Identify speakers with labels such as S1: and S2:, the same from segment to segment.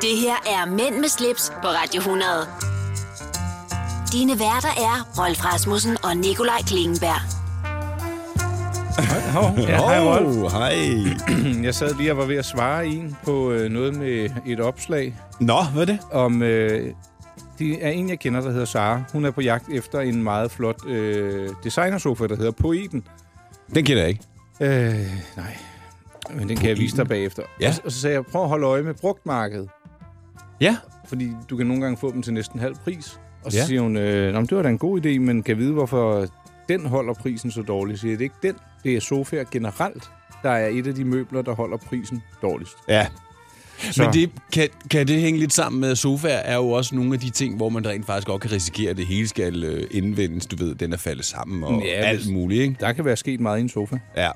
S1: Det her er Mænd med slips på Radio 100. Dine værter er Rolf Rasmussen og Nikolaj Klingenberg.
S2: Hov, ja, hej Rolf.
S3: Åh, hej.
S2: Jeg sad lige og var ved at svare en på øh, noget med et opslag
S3: Nå, hvad er det?
S2: om... Øh, det er en, jeg kender, der hedder Sara. Hun er på jagt efter en meget flot øh, designersofa, der hedder Poeten.
S3: Den kender jeg ikke.
S2: Øh, nej. Men den kan jeg vise dig bagefter.
S3: Ja.
S2: Og, så- og så sagde jeg, prøv at holde øje med brugtmarkedet.
S3: Ja.
S2: Fordi du kan nogle gange få dem til næsten halv pris. Og så
S3: Ja.
S2: ja. siger hun, øh, Nå, men det var da en god idé, men kan vide, hvorfor den holder prisen så dårligt. Så Siger jeg, det er ikke den, det er sofaer generelt, der er et af de møbler, der holder prisen dårligst.
S3: Ja.
S2: Så,
S4: Men det, kan, kan det hænge lidt sammen med, at sofaer er jo også nogle af de ting, hvor man rent faktisk godt kan risikere, at det hele skal øh, indvendes. Du ved, den er faldet sammen og ja,
S2: Ja,
S4: alt
S2: hvis-
S4: muligt, ikke?
S2: der kan være sket meget i en sofa.
S4: Ja.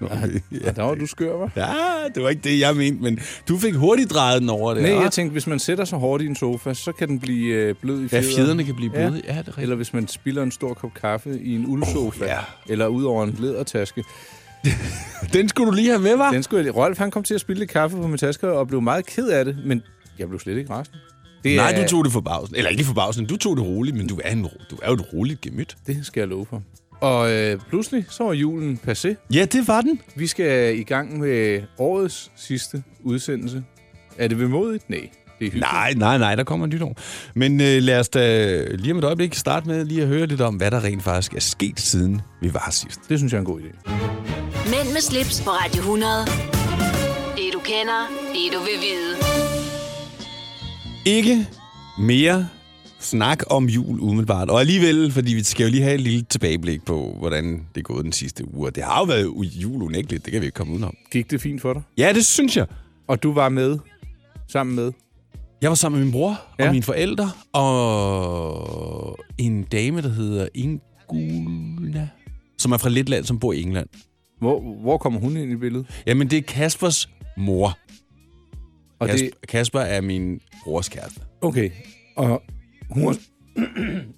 S2: Ja. Og der var du skør, var?
S4: ja, det var ikke det, jeg mente, men du fik hurtigt drejet den over det.
S2: Nej,
S4: hva'?
S2: jeg tænkte, hvis man sætter sig hårdt i en sofa, så kan den blive øh, blød i
S4: Ja,
S2: fjederne.
S4: fjederne kan blive
S2: Ja.
S4: bløde. Ja, det er rigtigt.
S2: Eller hvis man spilder en stor kop kaffe i en uldsofa, oh,
S4: ja.
S2: eller ud over en lædertaske.
S4: Den skulle du lige have med, var?
S2: Den skulle jeg, Rolf, han kom til at spille lidt kaffe på min taske og blev meget ked af det, men jeg blev slet ikke resten. Det
S4: Nej, du tog det forbavsen. Eller ikke forbavsen, du tog det roligt, men du er, en, ro- du er jo et roligt gemyt.
S2: Det skal jeg love for. Og øh, pludselig, så var julen passé.
S4: Ja, det var den.
S2: Vi skal i gang med årets sidste udsendelse. Er det vemodigt? Nej, det er hyggeligt.
S4: Nej, nej, nej, der kommer et nyt år. Men øh, lad os da lige om et øjeblik starte med lige at høre lidt om, hvad der rent faktisk er sket siden vi var her sidst.
S2: Det synes jeg er en god idé.
S1: Mænd med slips på Radio 100. Det du kender, det du vil vide.
S4: Ikke mere snak om jul umiddelbart. Og alligevel, fordi vi skal jo lige have et lille tilbageblik på, hvordan det er gået den sidste uge. Og det har jo været u- jul unægteligt, det kan vi ikke komme udenom.
S2: Gik det fint for dig?
S4: Ja, det synes jeg.
S2: Og du var med, sammen med.
S4: Jeg var sammen med min bror og
S2: Ja.
S4: mine forældre og en dame, der hedder Inguna, som er fra Letland, som bor i England.
S2: Hvor, hvor kommer hun ind i billedet?
S4: Jamen, det er Kaspers mor.
S2: Og det,
S4: Kasper, Kasper er min brors kæreste.
S2: okay. Og hun var,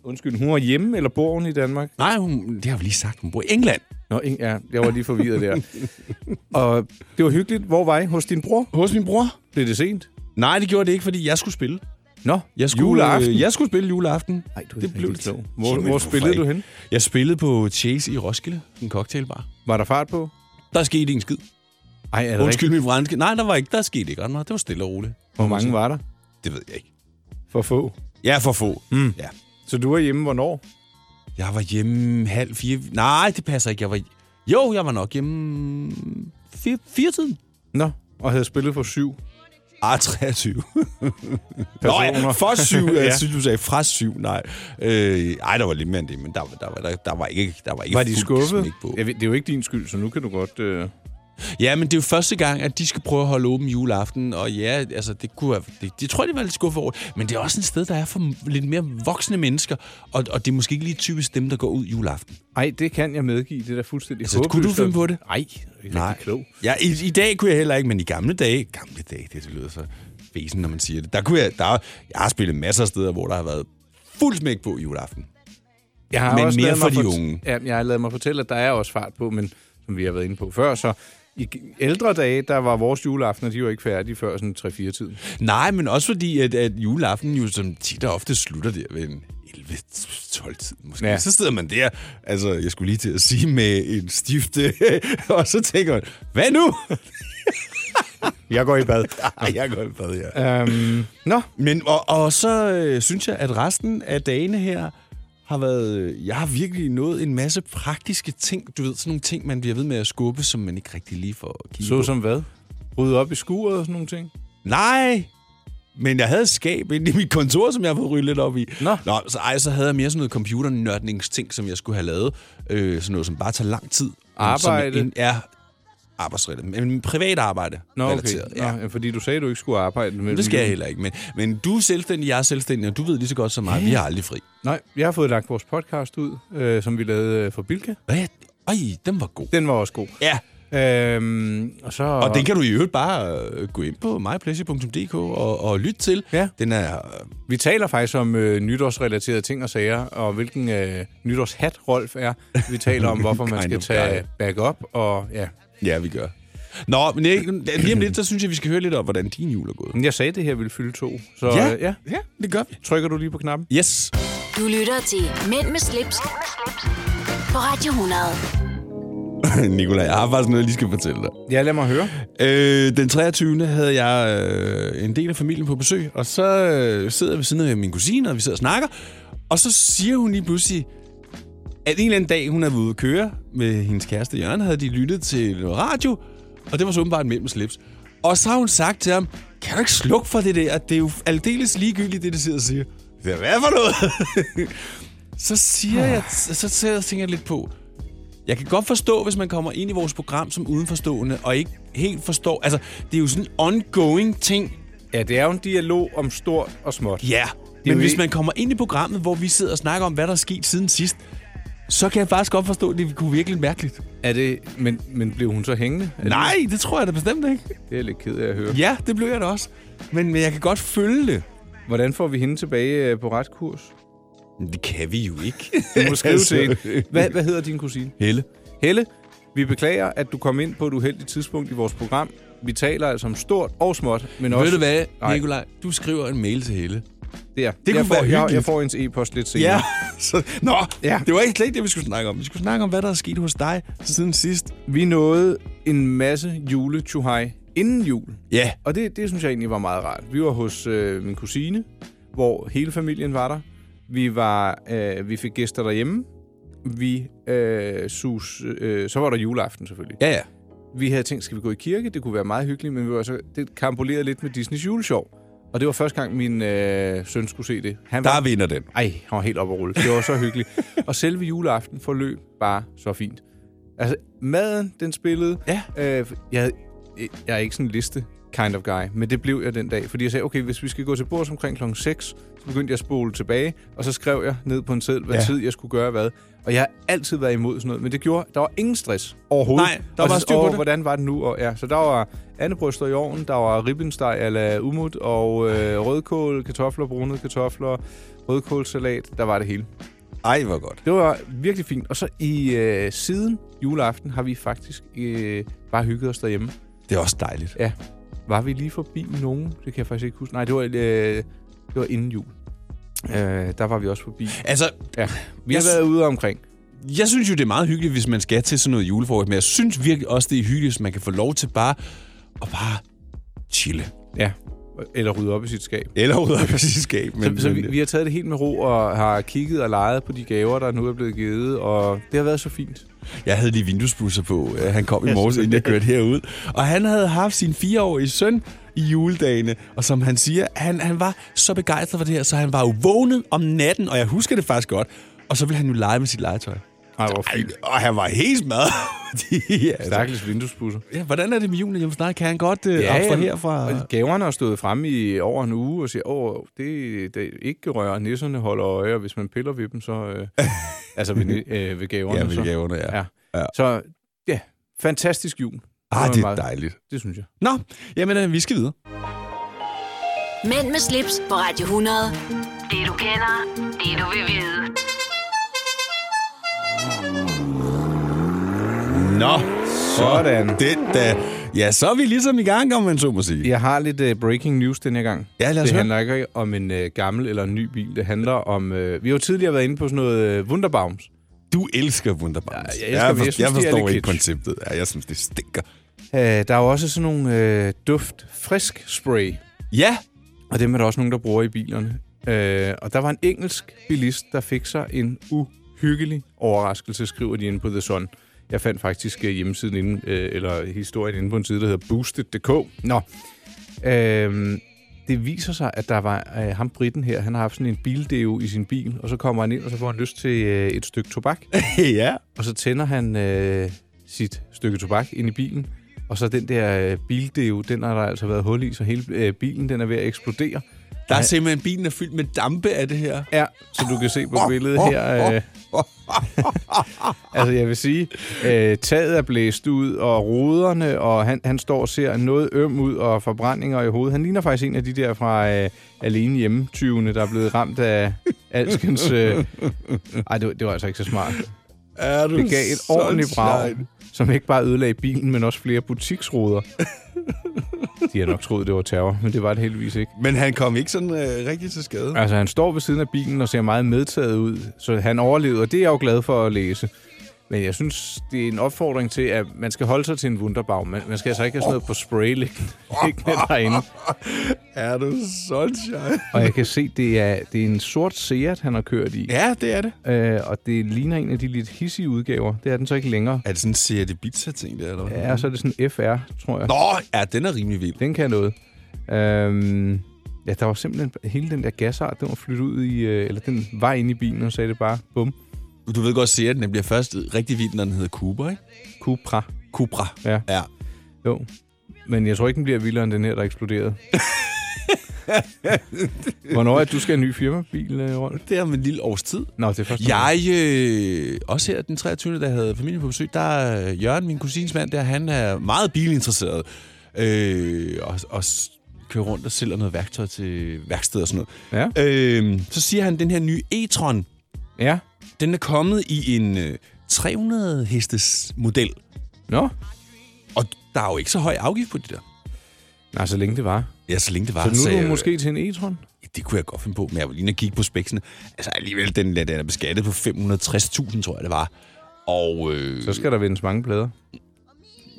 S2: undskyld, hun var hjemme, eller bor hun i Danmark?
S4: Nej, hun, det har vi lige sagt, hun bor i England.
S2: Nå, ing- ja, jeg var lige forvirret der. og det var hyggeligt. Hvor var I? Hos din bror?
S4: Hos min bror?
S2: Blev det sent?
S4: Nej, det gjorde det ikke, fordi jeg skulle spille.
S2: Nå,
S4: Jeg skulle,
S2: juleaften.
S4: Øh, jeg skulle spille juleaften.
S2: Ej, du er
S4: Det
S2: ikke
S4: blev
S2: rigtig
S4: det.
S2: klog. Hvor,
S4: Jamen,
S2: hvor
S4: hvorfor
S2: spillede du
S4: ikke?
S2: hen?
S4: Jeg spillede på Chase i Roskilde, en cocktailbar.
S2: Var der fart på?
S4: Der skete ikke en skid.
S2: Ej, er det
S4: Undskyld min franske. Nej, der var ikke. Der skete ikke ret meget. Det var stille og roligt.
S2: Hvor mange var der?
S4: Det ved jeg ikke.
S2: For få.
S4: Jeg er for få.
S2: Hmm.
S4: Mm. Ja.
S2: Så du var hjemme hvornår?
S4: Jeg var hjemme halv fire. Nej, det passer ikke. Jeg var... Jo, jeg var nok hjemme fire, fire tiden.
S2: Nå, og havde spillet for syv
S4: Ah, 23. Nå
S2: personer.
S4: ja, for syv. ja.
S2: Ja.
S4: Jeg synes, du sagde fra syv. Nej. Øh, ej, der var lidt mere end det, men der, var- der, var- der, der var ikke, der var ikke
S2: Var de
S4: fuld
S2: skuffet?
S4: smæk på.
S2: Jeg ved, det er jo ikke din skyld, så nu kan du godt... Øh...
S4: Ja, men det er jo første gang, at de skal prøve at holde åben juleaften, og ja, altså, det kunne have, det, det tror jeg, de var lidt skuffet over. Men det er også et sted, der er for m- lidt mere voksne mennesker, og, og det er måske ikke lige typisk dem, der går ud juleaften.
S2: Ej, det kan jeg medgive. Det er da fuldstændig
S4: Altså, kunne du
S2: håbløst.
S4: finde på det?
S2: Ej, det er ikke rigtig klog.
S4: Ja, i, i, dag kunne jeg heller ikke, men i gamle dage, gamle dage, det, det lyder så væsen, når man siger det, der kunne jeg, der, jeg har spillet masser af steder, hvor der har været fuld smæk på juleaften.
S2: Jeg har
S4: Men mere
S2: ladet mig
S4: for de
S2: fort-
S4: unge.
S2: Ja, jeg har lavet mig fortælle, at der er også fart på, men som vi har været inde på før, så i g- ældre dage, der var vores juleaftener, de var ikke færdige før sådan 3-4 tiden.
S4: Nej, men også fordi, at, at juleaften jo som tit og ofte slutter der ved en 11-12 tid måske. Ja.
S2: Ja.
S4: Så sidder man der, altså jeg skulle lige til at sige med en stifte, og så tænker man, hvad nu?
S2: Jeg går i bad.
S4: Ej, jeg går i bad, ja.
S2: øhm, nå,
S4: Men, og, og så øh, synes jeg, at resten af dagene her har været... øh, Jeg har virkelig nået en masse praktiske ting. Du ved, sådan nogle ting, man bliver ved med at skubbe, som man ikke rigtig lige får kigget
S2: så
S4: på.
S2: som hvad? Rydde op i skuret og sådan nogle ting?
S4: Nej! Men jeg havde et skab inde i mit kontor, som jeg har fået ryddet lidt op i.
S2: Nå.
S4: Nå så, ej, så havde jeg mere sådan noget computernørdningsting, som jeg skulle have lavet. Øh, sådan noget, som bare tager lang tid. Men som
S2: Arbejde?
S4: en- Ja, arbejdsrettet. Men privat arbejde.
S2: Nå, okay.
S4: relateret,
S2: Nå, ja. fordi du sagde, at du ikke skulle arbejde. Med
S4: Det skal jeg heller ikke. Men, men du er selvstændig, jeg er selvstændig, og du ved lige så godt som mig, vi har aldrig fri.
S2: Nej, jeg har fået lagt vores podcast ud, øh, som vi lavede øh, for Bilka.
S4: Hvad? Ej, den var god.
S2: Den var også god.
S4: Ja,
S2: Øhm, og så...
S4: og den kan du i øvrigt bare øh, gå ind på mypleasure.dk og, og lytte til.
S2: Ja.
S4: Den er... øh,
S2: Vi taler faktisk om øh, nytårsrelaterede ting og sager, og hvilken øh, nytårshat Rolf er. Vi taler om, hvorfor man
S4: Kind
S2: skal
S4: of
S2: tage back up, og ja.
S4: Ja, vi gør. Nå, men jeg, lige om lidt, så synes jeg, vi skal høre lidt om, hvordan din jul er gået.
S2: Men Jeg sagde, det her ville fylde to. Så øh, ja.
S4: ja, det gør vi.
S2: Trykker du lige på knappen?
S4: Yes.
S1: Du lytter til Mænd med slips, på Radio 100.
S4: Nikolaj, jeg har faktisk noget, jeg lige skal fortælle dig.
S2: Ja, lad mig høre.
S4: Øh, den 23. havde jeg øh, en del af familien på besøg, og så øh, sidder jeg ved siden af min kusine, og vi sidder og snakker, og så siger hun lige pludselig, at en eller anden dag, hun havde været ude at køre med hendes kæreste Jørgen, havde de lyttet til noget radio, og det var så åbenbart mellem slips. Og så har hun sagt til ham, kan du ikke slukke for det der? Det er jo aldeles ligegyldigt, det de sidder og siger. Det er hvad for noget? så siger jeg, så, så tænker jeg lidt på, jeg kan godt forstå, hvis man kommer ind i vores program som udenforstående, og ikke helt forstår... Altså, det er jo sådan en ongoing ting.
S2: Ja, det er jo en dialog om stort og småt.
S4: Ja. Yeah.
S2: jo
S4: Men hvis
S2: ikke-
S4: man kommer ind i programmet, hvor vi sidder og snakker om, hvad der er sket siden sidst, så kan jeg faktisk godt forstå, at det kunne virke lidt mærkeligt.
S2: Er det, men, men blev hun så hængende? Er det-
S4: Nej, det tror jeg da bestemt ikke.
S2: Det er jeg lidt ked af at høre.
S4: Ja, det blev jeg da også. Men, men jeg kan godt følge det.
S2: Hvordan får vi hende tilbage øh, på ret kurs?
S4: Men det kan vi jo ikke.
S2: Du må skrive
S4: Altså.
S2: til hende. Hvad, hvad hedder din kusine?
S4: Helle.
S2: Helle, vi beklager, at du kom ind på et uheldigt tidspunkt i vores program. Vi taler altså om stort og småt, men også...
S4: Ved du hvad,
S2: Nej.
S4: Nikolaj? Du skriver en mail til Helle.
S2: Der.
S4: kunne
S2: jeg, får, jeg,
S4: være hyggeligt.
S2: jeg får hendes e-post lidt senere.
S4: Så, nå,
S2: Ja.
S4: ja. det var ikke slet ikke det, vi skulle snakke om. Vi skulle snakke om, hvad der er sket hos dig siden sidst.
S2: Vi nåede en masse jule inden jul.
S4: Ja.
S2: Og det, det synes jeg egentlig var meget rart. Vi var hos øh, min kusine, hvor hele familien var der. Vi, var, øh, vi fik gæster derhjemme. Vi øh, sus, øh, så var der juleaften selvfølgelig.
S4: Ja, ja.
S2: Vi havde tænkt, skal vi gå i kirke? Det kunne være meget hyggeligt, men vi var så, det kampoleret lidt med Disneys juleshow. Og det var første gang, min øh, søn skulle se det. Han var,
S4: Der vinder den.
S2: ej, han var helt op og rulle. Det var så hyggeligt. og selve juleaften forløb bare så fint. Altså, maden, den spillede.
S4: Ja.
S2: Øh, jeg, havde- jeg er ikke sådan en liste kind of guy, men det blev jeg den dag. Fordi jeg sagde, okay, hvis vi skal gå til bords omkring klokken 6, så begyndte jeg at spole tilbage, og så skrev jeg ned på en seddel, hvad ja.
S4: Ja.
S2: tid jeg skulle gøre hvad. Og jeg har altid været imod sådan noget, men det gjorde, der var ingen stress overhovedet.
S4: Nej, der
S2: Og
S4: var
S2: så-
S4: styr på
S2: åh,
S4: det.
S2: Hvordan var det nu? Og, ja, så der var andebryster i ovnen, der var ribbensteg ala umut, og øh, rødkål, kartofler, brunede kartofler, rødkålsalat, der var det hele.
S4: Ej, hvor godt.
S2: Det var virkelig fint. Og så i øh, siden juleaften har vi faktisk øh, bare hygget os derhjemme.
S4: Det er også dejligt.
S2: Ja. Var vi lige forbi nogen? Det kan jeg faktisk ikke huske. Nej, det var, øh, det var inden jul. Øh, der var vi også forbi.
S4: Altså,
S2: Ja. Vi
S4: Jeg
S2: har
S4: s-
S2: været ude omkring.
S4: jeg synes jo, det er meget hyggeligt, hvis man skal til sådan noget julefrokost, men jeg synes virkelig også, det er hyggeligt, hvis man kan få lov til bare at bare chille.
S2: Ja. Eller rydde op i sit skab.
S4: Eller ud af præcis skab.
S2: Men, så så vi, vi har taget det helt med ro og har kigget og leget på de gaver, der nu er blevet givet, og det har været så fint.
S4: Jeg havde lige vinduesbusser på. Øh, Han kom i morges, inden jeg kørte herud. Og han havde haft sin fireårige søn i juledagene. Og som han siger, han, han var så begejstret for det her, så han var jo vågnet om natten. Og jeg husker det faktisk godt. Og så ville han jo lege med sit legetøj.
S2: Ej, hvor
S4: Ej, og han var helt smadret. ja, altså.
S2: Stakkels vinduesbusser.
S4: ja, hvordan er det med julen? Jamen snart kan han godt øh, ja, abstrahere fra...
S2: Og gaverne har stået fremme i over en uge og siger, åh, det, det er ikke rører. Nisserne holder øje, og hvis man piller ved dem, så... Øh, altså ved, ni- øh, ved gaverne.
S4: Ja, ved
S2: så.
S4: gaverne, ja.
S2: Ja.
S4: Ja.
S2: Så ja, fantastisk jul.
S4: Ah,
S2: var
S4: det er
S2: meget-
S4: dejligt.
S2: Det synes jeg.
S4: Nå, jamen øh, vi skal videre.
S1: Mænd med slips på Radio 100. Det du kender, det du vil vide.
S4: Nå,
S2: Sådan.
S4: Det, da. Ja, så er vi ligesom i gang, om man så må sige.
S2: Jeg har lidt uh, breaking news den her gang.
S4: Ja, lad os
S2: det
S4: høre.
S2: handler ikke om en uh, gammel eller en ny bil. Det handler om... Uh, vi har jo tidligere været inde på sådan noget uh, Wunderbaums.
S4: Du elsker Wunderbaums.
S2: Ja, jeg elsker dem. Jeg
S4: for-
S2: synes,
S4: jeg
S2: de er
S4: forstår
S2: lidt
S4: ikke
S2: kitsch.
S4: konceptet. Ja, jeg synes, det stinker.
S2: Uh, der er jo også sådan nogle uh, duft-frisk spray.
S4: Ja,
S2: Og dem er der også nogen, der bruger i bilerne. Øh, og der var en engelsk bilist, der fik sig en uhyggelig overraskelse, skriver de inde på The Sun. Jeg fandt faktisk øh, hjemmesiden inde, øh, eller historien inde på en side, der hedder boosted.dk. Nå. Øh, det viser sig, at der var øh, ham britten her, han har haft sådan en bildeo i sin bil, og så kommer han ind, og så får han lyst til øh, et stykke tobak.
S4: ja.
S2: Og så tænder han øh, sit stykke tobak ind i bilen, og så den der øh, bildeo, den har der altså været hul i, så hele øh, bilen den er ved at eksplodere.
S4: Der er simpelthen, bilen er fyldt med dampe af det her.
S2: Ja, som du kan se på billedet her. Øh, altså, jeg vil sige, øh, taget er blæst ud, og ruderne, og han, han står og ser noget øm ud, og forbrændinger i hovedet. Han ligner faktisk en af de der fra øh, alene hjemme der er blevet ramt af alskens... Øh... Ej, det, var- det var altså ikke så smart.
S3: Er du
S2: Det gav et ordentligt brag, som ikke bare ødelagde bilen, men også flere butiksruder. De har nok troet, det var terror, men det var det heldigvis ikke.
S3: Men han kom ikke sådan øh, rigtig til skade.
S2: Altså, han står ved siden af bilen og ser meget medtaget ud, så han overlevede, og det er jeg jo glad for at læse. Men jeg synes, det er en opfordring til, at man skal holde sig til en wunderbaum. Man, man skal altså ikke have sådan noget på spray liggende, liggende derinde.
S3: Er du sunshine?
S2: Og jeg kan se, det er, det er en sort Seat, han har kørt i.
S3: Ja, det er det.
S2: Øh, og det ligner en af de lidt hissige udgaver. Det er den så ikke længere.
S3: Er det sådan en Seat Ibiza-ting, der, eller hvad?
S2: Ja, og så er det sådan FR, tror jeg.
S3: Nå, ja, den er rimelig vild.
S2: Den kan noget. Øhm, ja, der var simpelthen hele den der gasart, den var flyttet ud i, øh, eller den var inde i bilen, og sagde det bare, bum,
S4: Du ved godt, Seat, den bliver først rigtig vild, når den hedder Cooper, ikke?
S2: Cupra.
S4: Cupra.
S2: Ja.
S3: Ja.
S2: Jo. Men jeg tror ikke, den bliver vildere end den her, der eksploderede. Hvornår er det, du skal have en ny firmabil, øh, Rolf?
S4: Det er om en lille års tid.
S2: Nå, det er først.
S4: Jeg, øh, også her den 23. der havde familien på besøg, der er Jørgen, min kusins mand, der han er meget bilinteresseret. Øh, og, og s- kører rundt og sælger noget værktøj til værksted og sådan
S2: Ja.
S4: noget. Øh, så siger han, den her nye e-tron,
S2: Ja.
S4: den er kommet i en øh, 300 hestes model.
S2: Nå.
S4: Og der er jo ikke så høj afgift på det der.
S2: Nej, så længe det var.
S4: Ja, så længe det var.
S2: Så nu
S4: sagde
S2: er du
S4: jeg,
S2: måske til en e-tron.
S4: Det kunne jeg godt finde på, men jeg var lige inde og kigge på spæksene. Altså alligevel, den, den er beskattet på 560.000, tror jeg, det var. Og, øh,
S2: Så skal der vendes mange plader.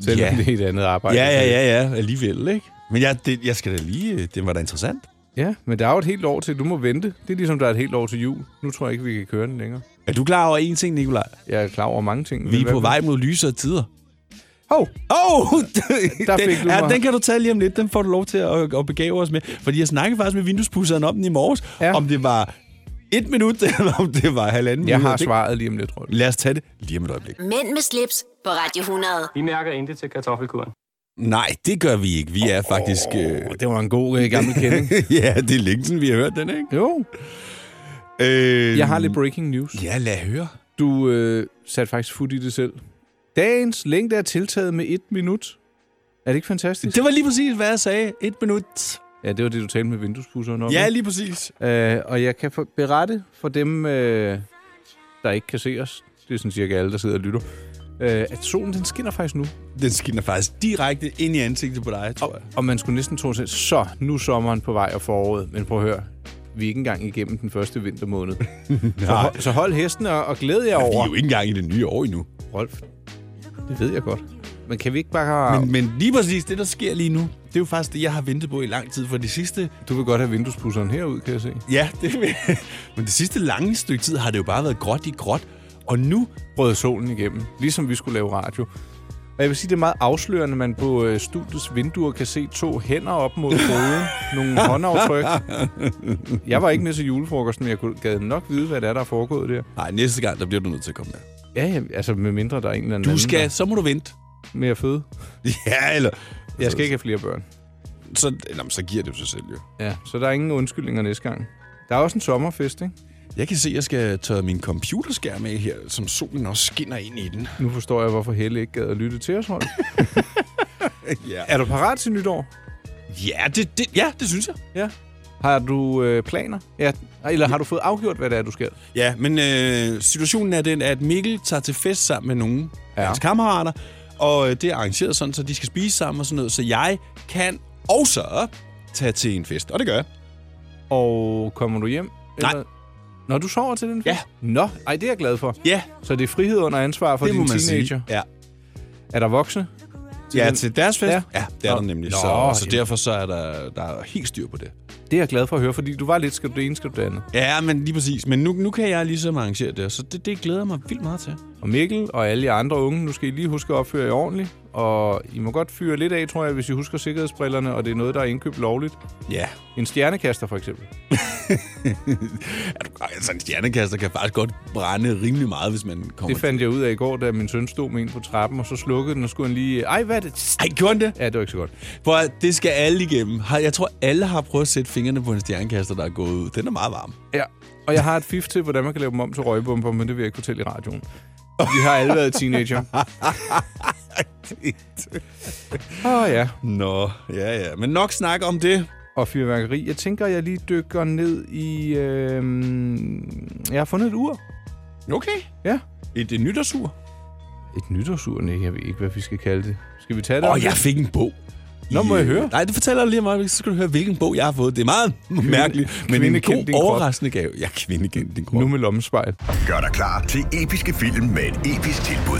S2: Selvom
S4: Ja.
S2: det er et andet arbejde.
S4: ja, ja, ja, ja, alligevel, ikke? Men jeg, det, jeg skal da lige... øh, Det var da interessant.
S2: Ja, men der er jo et helt år til. Du må vente. Det er ligesom, der er et helt år til jul. Nu tror jeg ikke, vi kan køre den længere.
S4: Er du klar over en ting, Nikolaj?
S2: Jeg er klar over mange ting.
S4: Vi
S2: Men
S4: er
S2: hvad-
S4: på vej mod lysere tider.
S2: Hov!
S4: Åh! Oh,
S2: Der fik du
S4: den, ja,
S2: mig.
S4: den kan du tage lige om lidt. Den får du lov til at, at begave os med. Fordi jeg snakkede faktisk med vinduespudseren om den i morges.
S2: Ja.
S4: Ja. Om det var et minut, eller om det var halvanden
S2: Jeg
S4: minut.
S2: har
S4: Det-
S2: svaret lige om lidt, Rolf.
S4: Lad os tage det lige om et øjeblik.
S1: Mænd med slips på Radio 100.
S5: Vi mærker intet til kartoffelkuren.
S4: Nej, det gør vi ikke. Vi er faktisk... Øh,
S2: Det var en god øh, gammel kending.
S4: ja, det er længe siden, vi har hørt den, ikke?
S2: Jo,
S4: Øh,
S2: jeg har lidt breaking news.
S4: Ja, lad høre.
S2: Du øh, satte faktisk fod i det selv. Dagens længde er tiltaget med et minut. Er det ikke fantastisk?
S4: Det var lige præcis, hvad jeg sagde. Et minut.
S2: Ja, det var det, du talte med vinduespusseren om.
S4: Ja,
S2: ikke?
S4: lige præcis.
S2: Øh, og jeg kan for- berette for dem, øh, der ikke kan se os. Det er sådan cirka alle, der sidder og lytter. Øh, at solen, den skinner faktisk nu.
S4: Den skinner faktisk direkte ind i ansigtet på dig, tror jeg.
S2: Og man skulle næsten tro til, så nu er sommeren på vej og foråret. Men prøv at høre, vi er ikke engang igennem den første vintermåned. så, hold, så hold hesten og, og glæd jer
S4: Vi
S2: over.
S4: er jo ikke engang i det nye år endnu.
S2: Rolf, det ved jeg godt. Men kan vi ikke bare...
S4: Men, men lige præcis det, der sker lige nu, det er jo faktisk det, jeg har ventet på i lang tid. For det sidste...
S2: Du vil godt have vinduespusseren herud, kan jeg se.
S4: Ja, det Men det sidste lange stykke tid har det jo bare været gråt i gråt. Og nu...
S2: Brød solen igennem, ligesom vi skulle lave radio. Og jeg vil sige, det er meget afslørende, at man på øh, studiets vinduer kan se to hænder op mod hovedet. nogle håndaftryk. Jeg var ikke med til julefrokosten, men jeg kunne gad nok vide, hvad det er, der er foregået der.
S4: Nej, næste gang, der bliver du nødt til at komme med.
S2: Ja, ja, altså med mindre der er en eller anden
S4: Du skal... Så må du vente.
S2: anden med at føde.
S4: Ja, eller...
S2: Jeg skal ikke have flere børn.
S4: Så, eller, så giver det jo sig selv, jo.
S2: Ja, så der er ingen undskyldninger næste gang. Der er også en sommerfest, ikke?
S4: Jeg kan se, at jeg skal tørre min computerskærm af her, som solen også skinner ind i den.
S2: Nu forstår jeg, hvorfor Helle ikke gad at lytte til os, Holm.
S4: Ja,
S2: Er du parat til nytår?
S4: ja, det, det, ja, det synes jeg.
S2: Ja. Har du øh, planer? Ja. Eller har du fået afgjort, hvad det er, du skal?
S4: Ja, men øh, situationen er den, at Mikkel tager til fest sammen med nogle af
S2: Ja.
S4: hans kammerater, og øh, det er arrangeret sådan, så de skal spise sammen og sådan noget, så jeg kan også tage til en fest, og det gør jeg.
S2: Og kommer du hjem?
S4: Nej.
S2: Når du sover til den fest?
S4: Ja.
S2: Nå, ej, det er jeg glad for.
S4: Ja,
S2: Så det er frihed under ansvar for
S4: det
S2: din
S4: må man
S2: teenager.
S4: sige. Ja.
S2: Er der voksne?
S4: ja,
S2: den-
S4: til deres fest.
S2: Ja.
S4: Ja, ja det er
S2: Nå.
S4: der nemlig.
S2: Nå,
S4: så, så
S2: jamen.
S4: derfor så er der, der er helt styr på det.
S2: Det er jeg glad for at høre, fordi du var lidt, skal du det ene, skal du det andet.
S4: Ja, men lige præcis. Men nu, nu kan jeg ligesom arrangere det, så det, det glæder jeg mig vildt meget til.
S2: Og Mikkel og alle jer andre unge, nu skal I lige huske at opføre jer ordentligt. Og I må godt fyre lidt af, tror jeg, hvis I husker sikkerhedsbrillerne, og det er noget, der er indkøbt lovligt.
S4: Ja,
S2: En stjernekaster for eksempel.
S4: Er du, altså en stjernekaster kan faktisk godt brænde rimelig meget, hvis man kommer...
S2: Det fandt jeg ud af i går, da min søn stod med en på trappen, og så slukkede den, og skulle han lige... Ej, hvad er det?
S4: Ej, gjorde han det?
S2: Ja, det var ikke så godt.
S4: Prøv at, det skal alle igennem. Har- Jeg tror, alle har prøvet at sætte fingrene på en stjernekaster, der er gået ud. Den er meget varm.
S2: Ja, og jeg har et fif til, hvordan man kan lave dem om til røgbomber, men det vil jeg ikke fortælle i radioen. Vi har alle været teenager. Åh oh, ja,
S4: Nå, ja, ja. Men nok snak om det.
S2: og fyrværkeri. Jeg tænker, jeg lige dykker ned i... Øh... Jeg har fundet et ur.
S4: Okay.
S2: Ja,
S4: Et, et nytårsur?
S2: Et nytårsur? Nej, jeg ved ikke, hvad vi skal kalde det. Skal vi tage det?
S4: Åh,
S2: om
S4: oh, jeg
S2: lidt?
S4: fik en bog.
S2: Nå, må
S4: I,
S2: jeg
S4: øh,
S2: høre?
S4: Nej, det fortæller jeg lige meget. Så skal du høre, hvilken bog jeg har fået. Det er meget mærkeligt, men
S2: kvinde
S4: en
S2: kend
S4: god,
S2: din krop.
S4: overraskende gave. Ja, kvinde kendt din krop.
S2: Nu med lommespejl.
S5: Gør dig klar til episke film med et episk tilbud.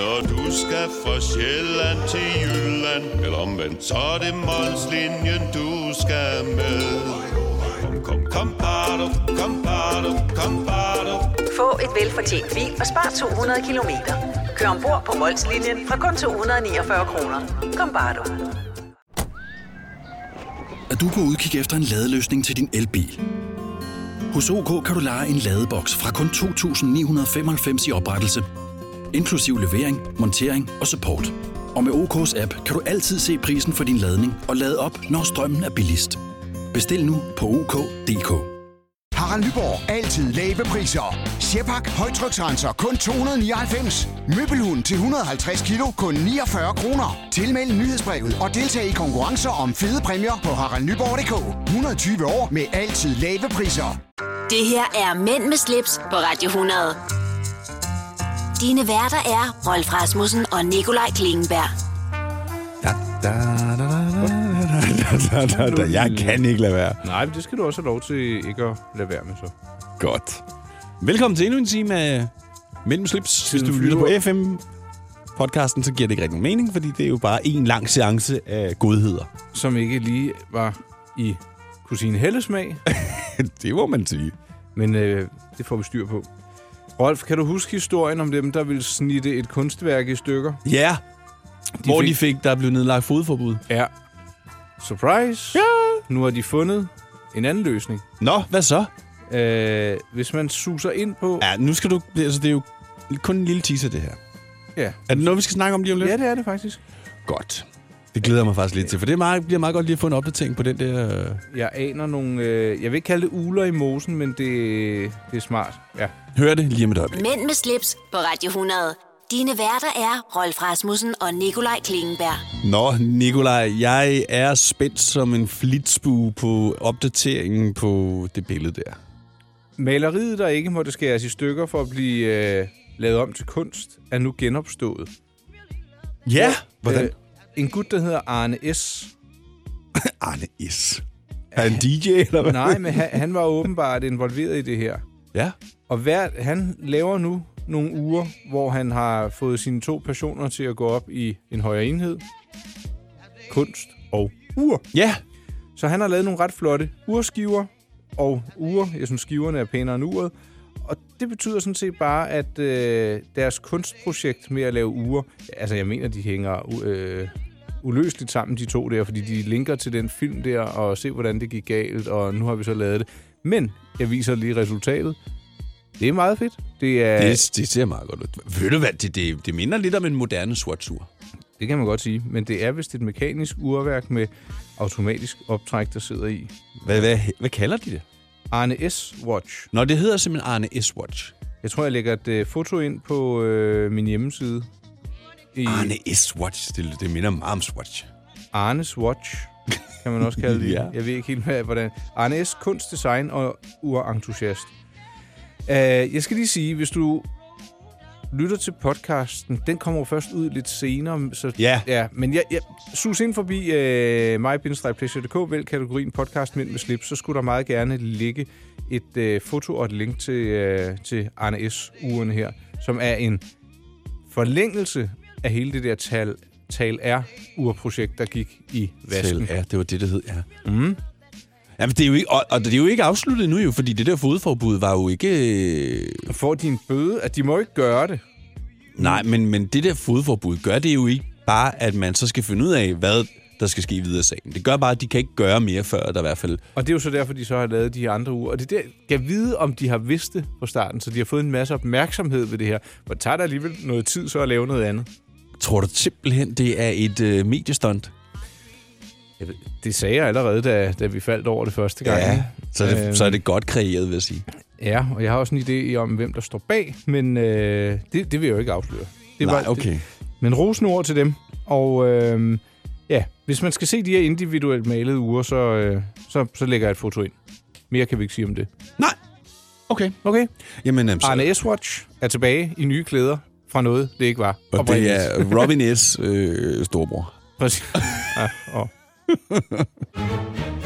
S6: Når du skal fra Sjælland til Jylland Eller omvendt, så er det Molslinjen, du skal med Kom, kom, kom, bado, kom, bado, kom, bado.
S7: Få et velfortjent bil og spar 200 kilometer. Kør ombord på Molslinjen fra kun 249 kroner. Kom bare du.
S8: at du kan udkigge efter en ladeløsning til din elbil. Hos OK kan du lege en ladeboks fra kun 2.995 i oprettelse, inklusiv levering, montering og support. Og med OK's app kan du altid se prisen for din ladning og lade op, når strømmen er billigst. Bestil nu på OK.dk.
S9: Harald Nyborg. Altid lave priser. Sjehpak. Højtryksrenser. Kun 299. Møbelhund til 150 kilo. Kun 49 kroner. Tilmeld nyhedsbrevet og deltag i konkurrencer om fede præmier på haraldnyborg.dk. 120 år med altid lave priser.
S1: Det her er Mænd med slips på Radio 100. Dine værter er Rolf Rasmussen og Nikolaj Klingenberg.
S3: Da, da, da, da, da, da, da, da, da. Jeg kan ikke lade være.
S2: Nej, men det skal du også have lov til ikke at lade være med så.
S3: Godt.
S4: Velkommen til endnu en time af Mellem Slips. Hvis
S2: Tiden
S4: du lytter på
S2: flyver.
S4: FM-podcasten, så giver det ikke rigtig nogen mening, fordi det er jo bare en lang seance af godheder.
S2: Som ikke lige var i kusine Helles smag,
S3: Det må man sige.
S2: men øh, det får vi styr på. Rolf, kan du huske historien om dem, der ville snitte et kunstværk i stykker?
S4: Ja, hvor
S2: fik-
S4: de fik, der blev nedlagt fodforbud.
S2: Ja. Surprise! Ja! Nu har de fundet en anden løsning.
S4: Nå, hvad så?
S2: Øh, hvis man suser ind på...
S4: Ja, nu skal du... Altså, det er jo kun en lille teaser, det her.
S2: Ja.
S4: Er det noget, vi skal snakke om lige om lidt?
S2: ja, det er det faktisk.
S4: Godt. Det glæder jeg mig faktisk lidt til, for det er meget, bliver meget godt lige at få en opdatering på den der... øh,
S2: Jeg aner nogle... Øh, jeg vil ikke kalde det uler i mosen, men det, det er smart. Ja.
S4: Hør det lige om et øjeblik.
S1: Mænd med slips på Radio 100. Dine værter er Rolf Rasmussen og Nikolaj Klingenberg.
S4: Nå, Nikolaj, jeg er spændt som en flitsbue på opdateringen på det billede der.
S2: Maleriet, der ikke måtte skæres i stykker for at blive øh, lavet om til kunst, er nu genopstået.
S4: Ja! Hvordan?
S2: Øh, en gut, der hedder Arne S.
S3: Arne Is. Er han DJ, eller hvad?
S2: Nej, men han, han var åbenbart involveret i det her.
S4: Ja.
S2: Og hver, han laver nu nogle uger, hvor han har fået sine to personer til at gå op i en højere enhed. Kunst og ur.
S4: Ja!
S2: Så han har lavet nogle ret flotte urskiver og ure. Jeg synes, skiverne er pænere end uret. Og det betyder sådan set bare, at øh, deres kunstprojekt med at lave ure... Altså, jeg mener, de hænger u- øh, uløseligt sammen, de to der, fordi de linker til den film der, og se, hvordan det gik galt, og nu har vi så lavet det. Men jeg viser lige resultatet. Det er meget fedt. Det, er, det,
S4: Det, det ser meget godt ud. Ved du hvad, det, det, det minder lidt om en moderne sortsur.
S2: det kan man godt sige. Men det er vist et mekanisk urværk med automatisk optræk, der sidder i.
S4: Hvad, hvad, hvad kalder de det?
S2: Arne S. Watch.
S4: Nå, det hedder simpelthen Arne S-Watch.
S2: Jeg tror, jeg lægger et øh, foto ind på øh, min hjemmeside. I Arne.
S4: Arne S-Watch, det, det minder meget om Swatch.
S2: Arnes Watch, kan man også kalde det.
S4: Ja.
S2: Jeg ved ikke helt, hvad, hvordan. Arne S. Kunst, Design og Urentusiast. Uh, jeg skal lige sige, hvis du lytter til podcasten, den kommer jo først ud lidt senere. Så,
S4: Ja.
S2: ja. Men jeg, jeg sus ind forbi øh, mig-pleasure.dk, vælg kategorien podcast Mænd med slips, så skulle der meget gerne ligge et øh, foto og et link til, øh, til Arne S-uren her, som er en forlængelse af hele det der tal, tal R-urprojekt, der gik i vasken.
S4: Ja, det var det, det hed, ja. Mm. Jamen, det er jo ikke, og, og det er jo ikke afsluttet nu jo, fordi det der fodforbud var jo ikke... øh,
S2: Får de en bøde, at de må ikke gøre det.
S4: Nej, men, men det der fodforbud gør det jo ikke bare, at man så skal finde ud af, hvad der skal ske videre i sagen. Det gør bare, at de kan ikke gøre mere, før der i hvert fald...
S2: Og det er jo så derfor, de så har lavet de her andre uger. Og det der, kan vide, om de har vidst det fra starten, så de har fået en masse opmærksomhed ved det her. For det tager da alligevel noget tid så at lave noget andet.
S4: Tror du simpelthen, det er et øh, mediestunt?
S2: Jeg ved- Det sagde jeg allerede, da, da vi faldt over det første gang. ikke?
S4: Så er, det,
S2: Øhm.
S4: så er det godt kreeret, vil jeg sige.
S2: Ja, og jeg har også en idé om, hvem der står bag, men øh, det, det vil jeg jo ikke afsløre. Det
S4: Nej,
S2: var-
S4: okay.
S2: Men rosende ord til dem. Og øh, ja, hvis man skal se de her individuelt malede uger, så, øh, så, så lægger jeg et foto ind. Mere kan vi ikke sige om det.
S4: Nej. Okay.
S2: Okay.
S3: Jamen,
S4: altså,
S3: øhm, så-
S2: Arne S-Watch er tilbage i nye klæder fra noget, det ikke var.
S4: Og det
S2: oprindeligt.
S4: er Robin S. Øh, storbror.
S2: Præcis. Ja, og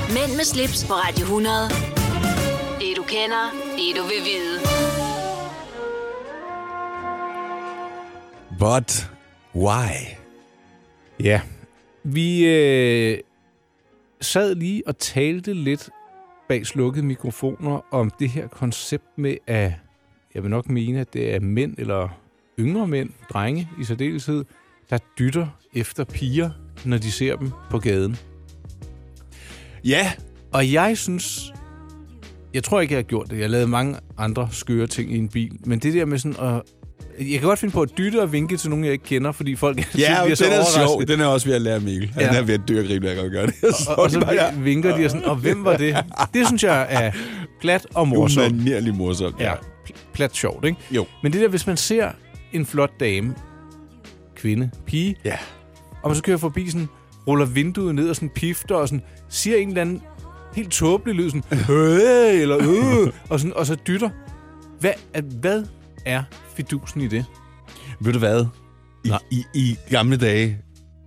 S1: Mænd med slips på Radio 100. Det du kender, det du vil vide.
S4: But why?
S2: Ja. Vi øh, sad lige og talte lidt bag slukkede mikrofoner om det her koncept med, at jeg vil nok mene, at det er mænd eller yngre mænd, drenge i særdeleshed, der dytter efter piger, når de ser dem på gaden.
S4: Ja,
S2: Og jeg synes... Jeg tror ikke, jeg har gjort det. Jeg lavede mange andre skøre ting i en bil. Men det der med sådan at... Jeg kan godt finde på at dytte og vinke til nogen, jeg ikke kender, fordi folk altid
S4: ja
S2: bliver
S4: den
S2: så
S4: er sjov.
S2: overrasket.
S4: Den er også ved at lære Mikkel. Ja.
S2: Ja.
S4: Den er ved at dyrke rimelig, jeg kan godt gøre det.
S2: Og, og så
S4: er det bare,
S2: vin- vinker de og sådan, og hvem var det? Det synes jeg er glat og morsomt.
S4: Umanerlig morsomt.
S2: Ja, pl- plat sjovt, ikke?
S4: Jo.
S2: Men det der, hvis man ser en flot dame, kvinde, pige,
S4: Ja.
S2: og man så kører forbi sådan, ruller vinduet ned og sådan pifter og sådan, siger en eller anden helt tåbelig lyd, sådan, øh, eller øh, og, sådan, og så dytter. Hvad, at, hvad er fidusen i det?
S4: Ved du hvad? I, i, I gamle dage,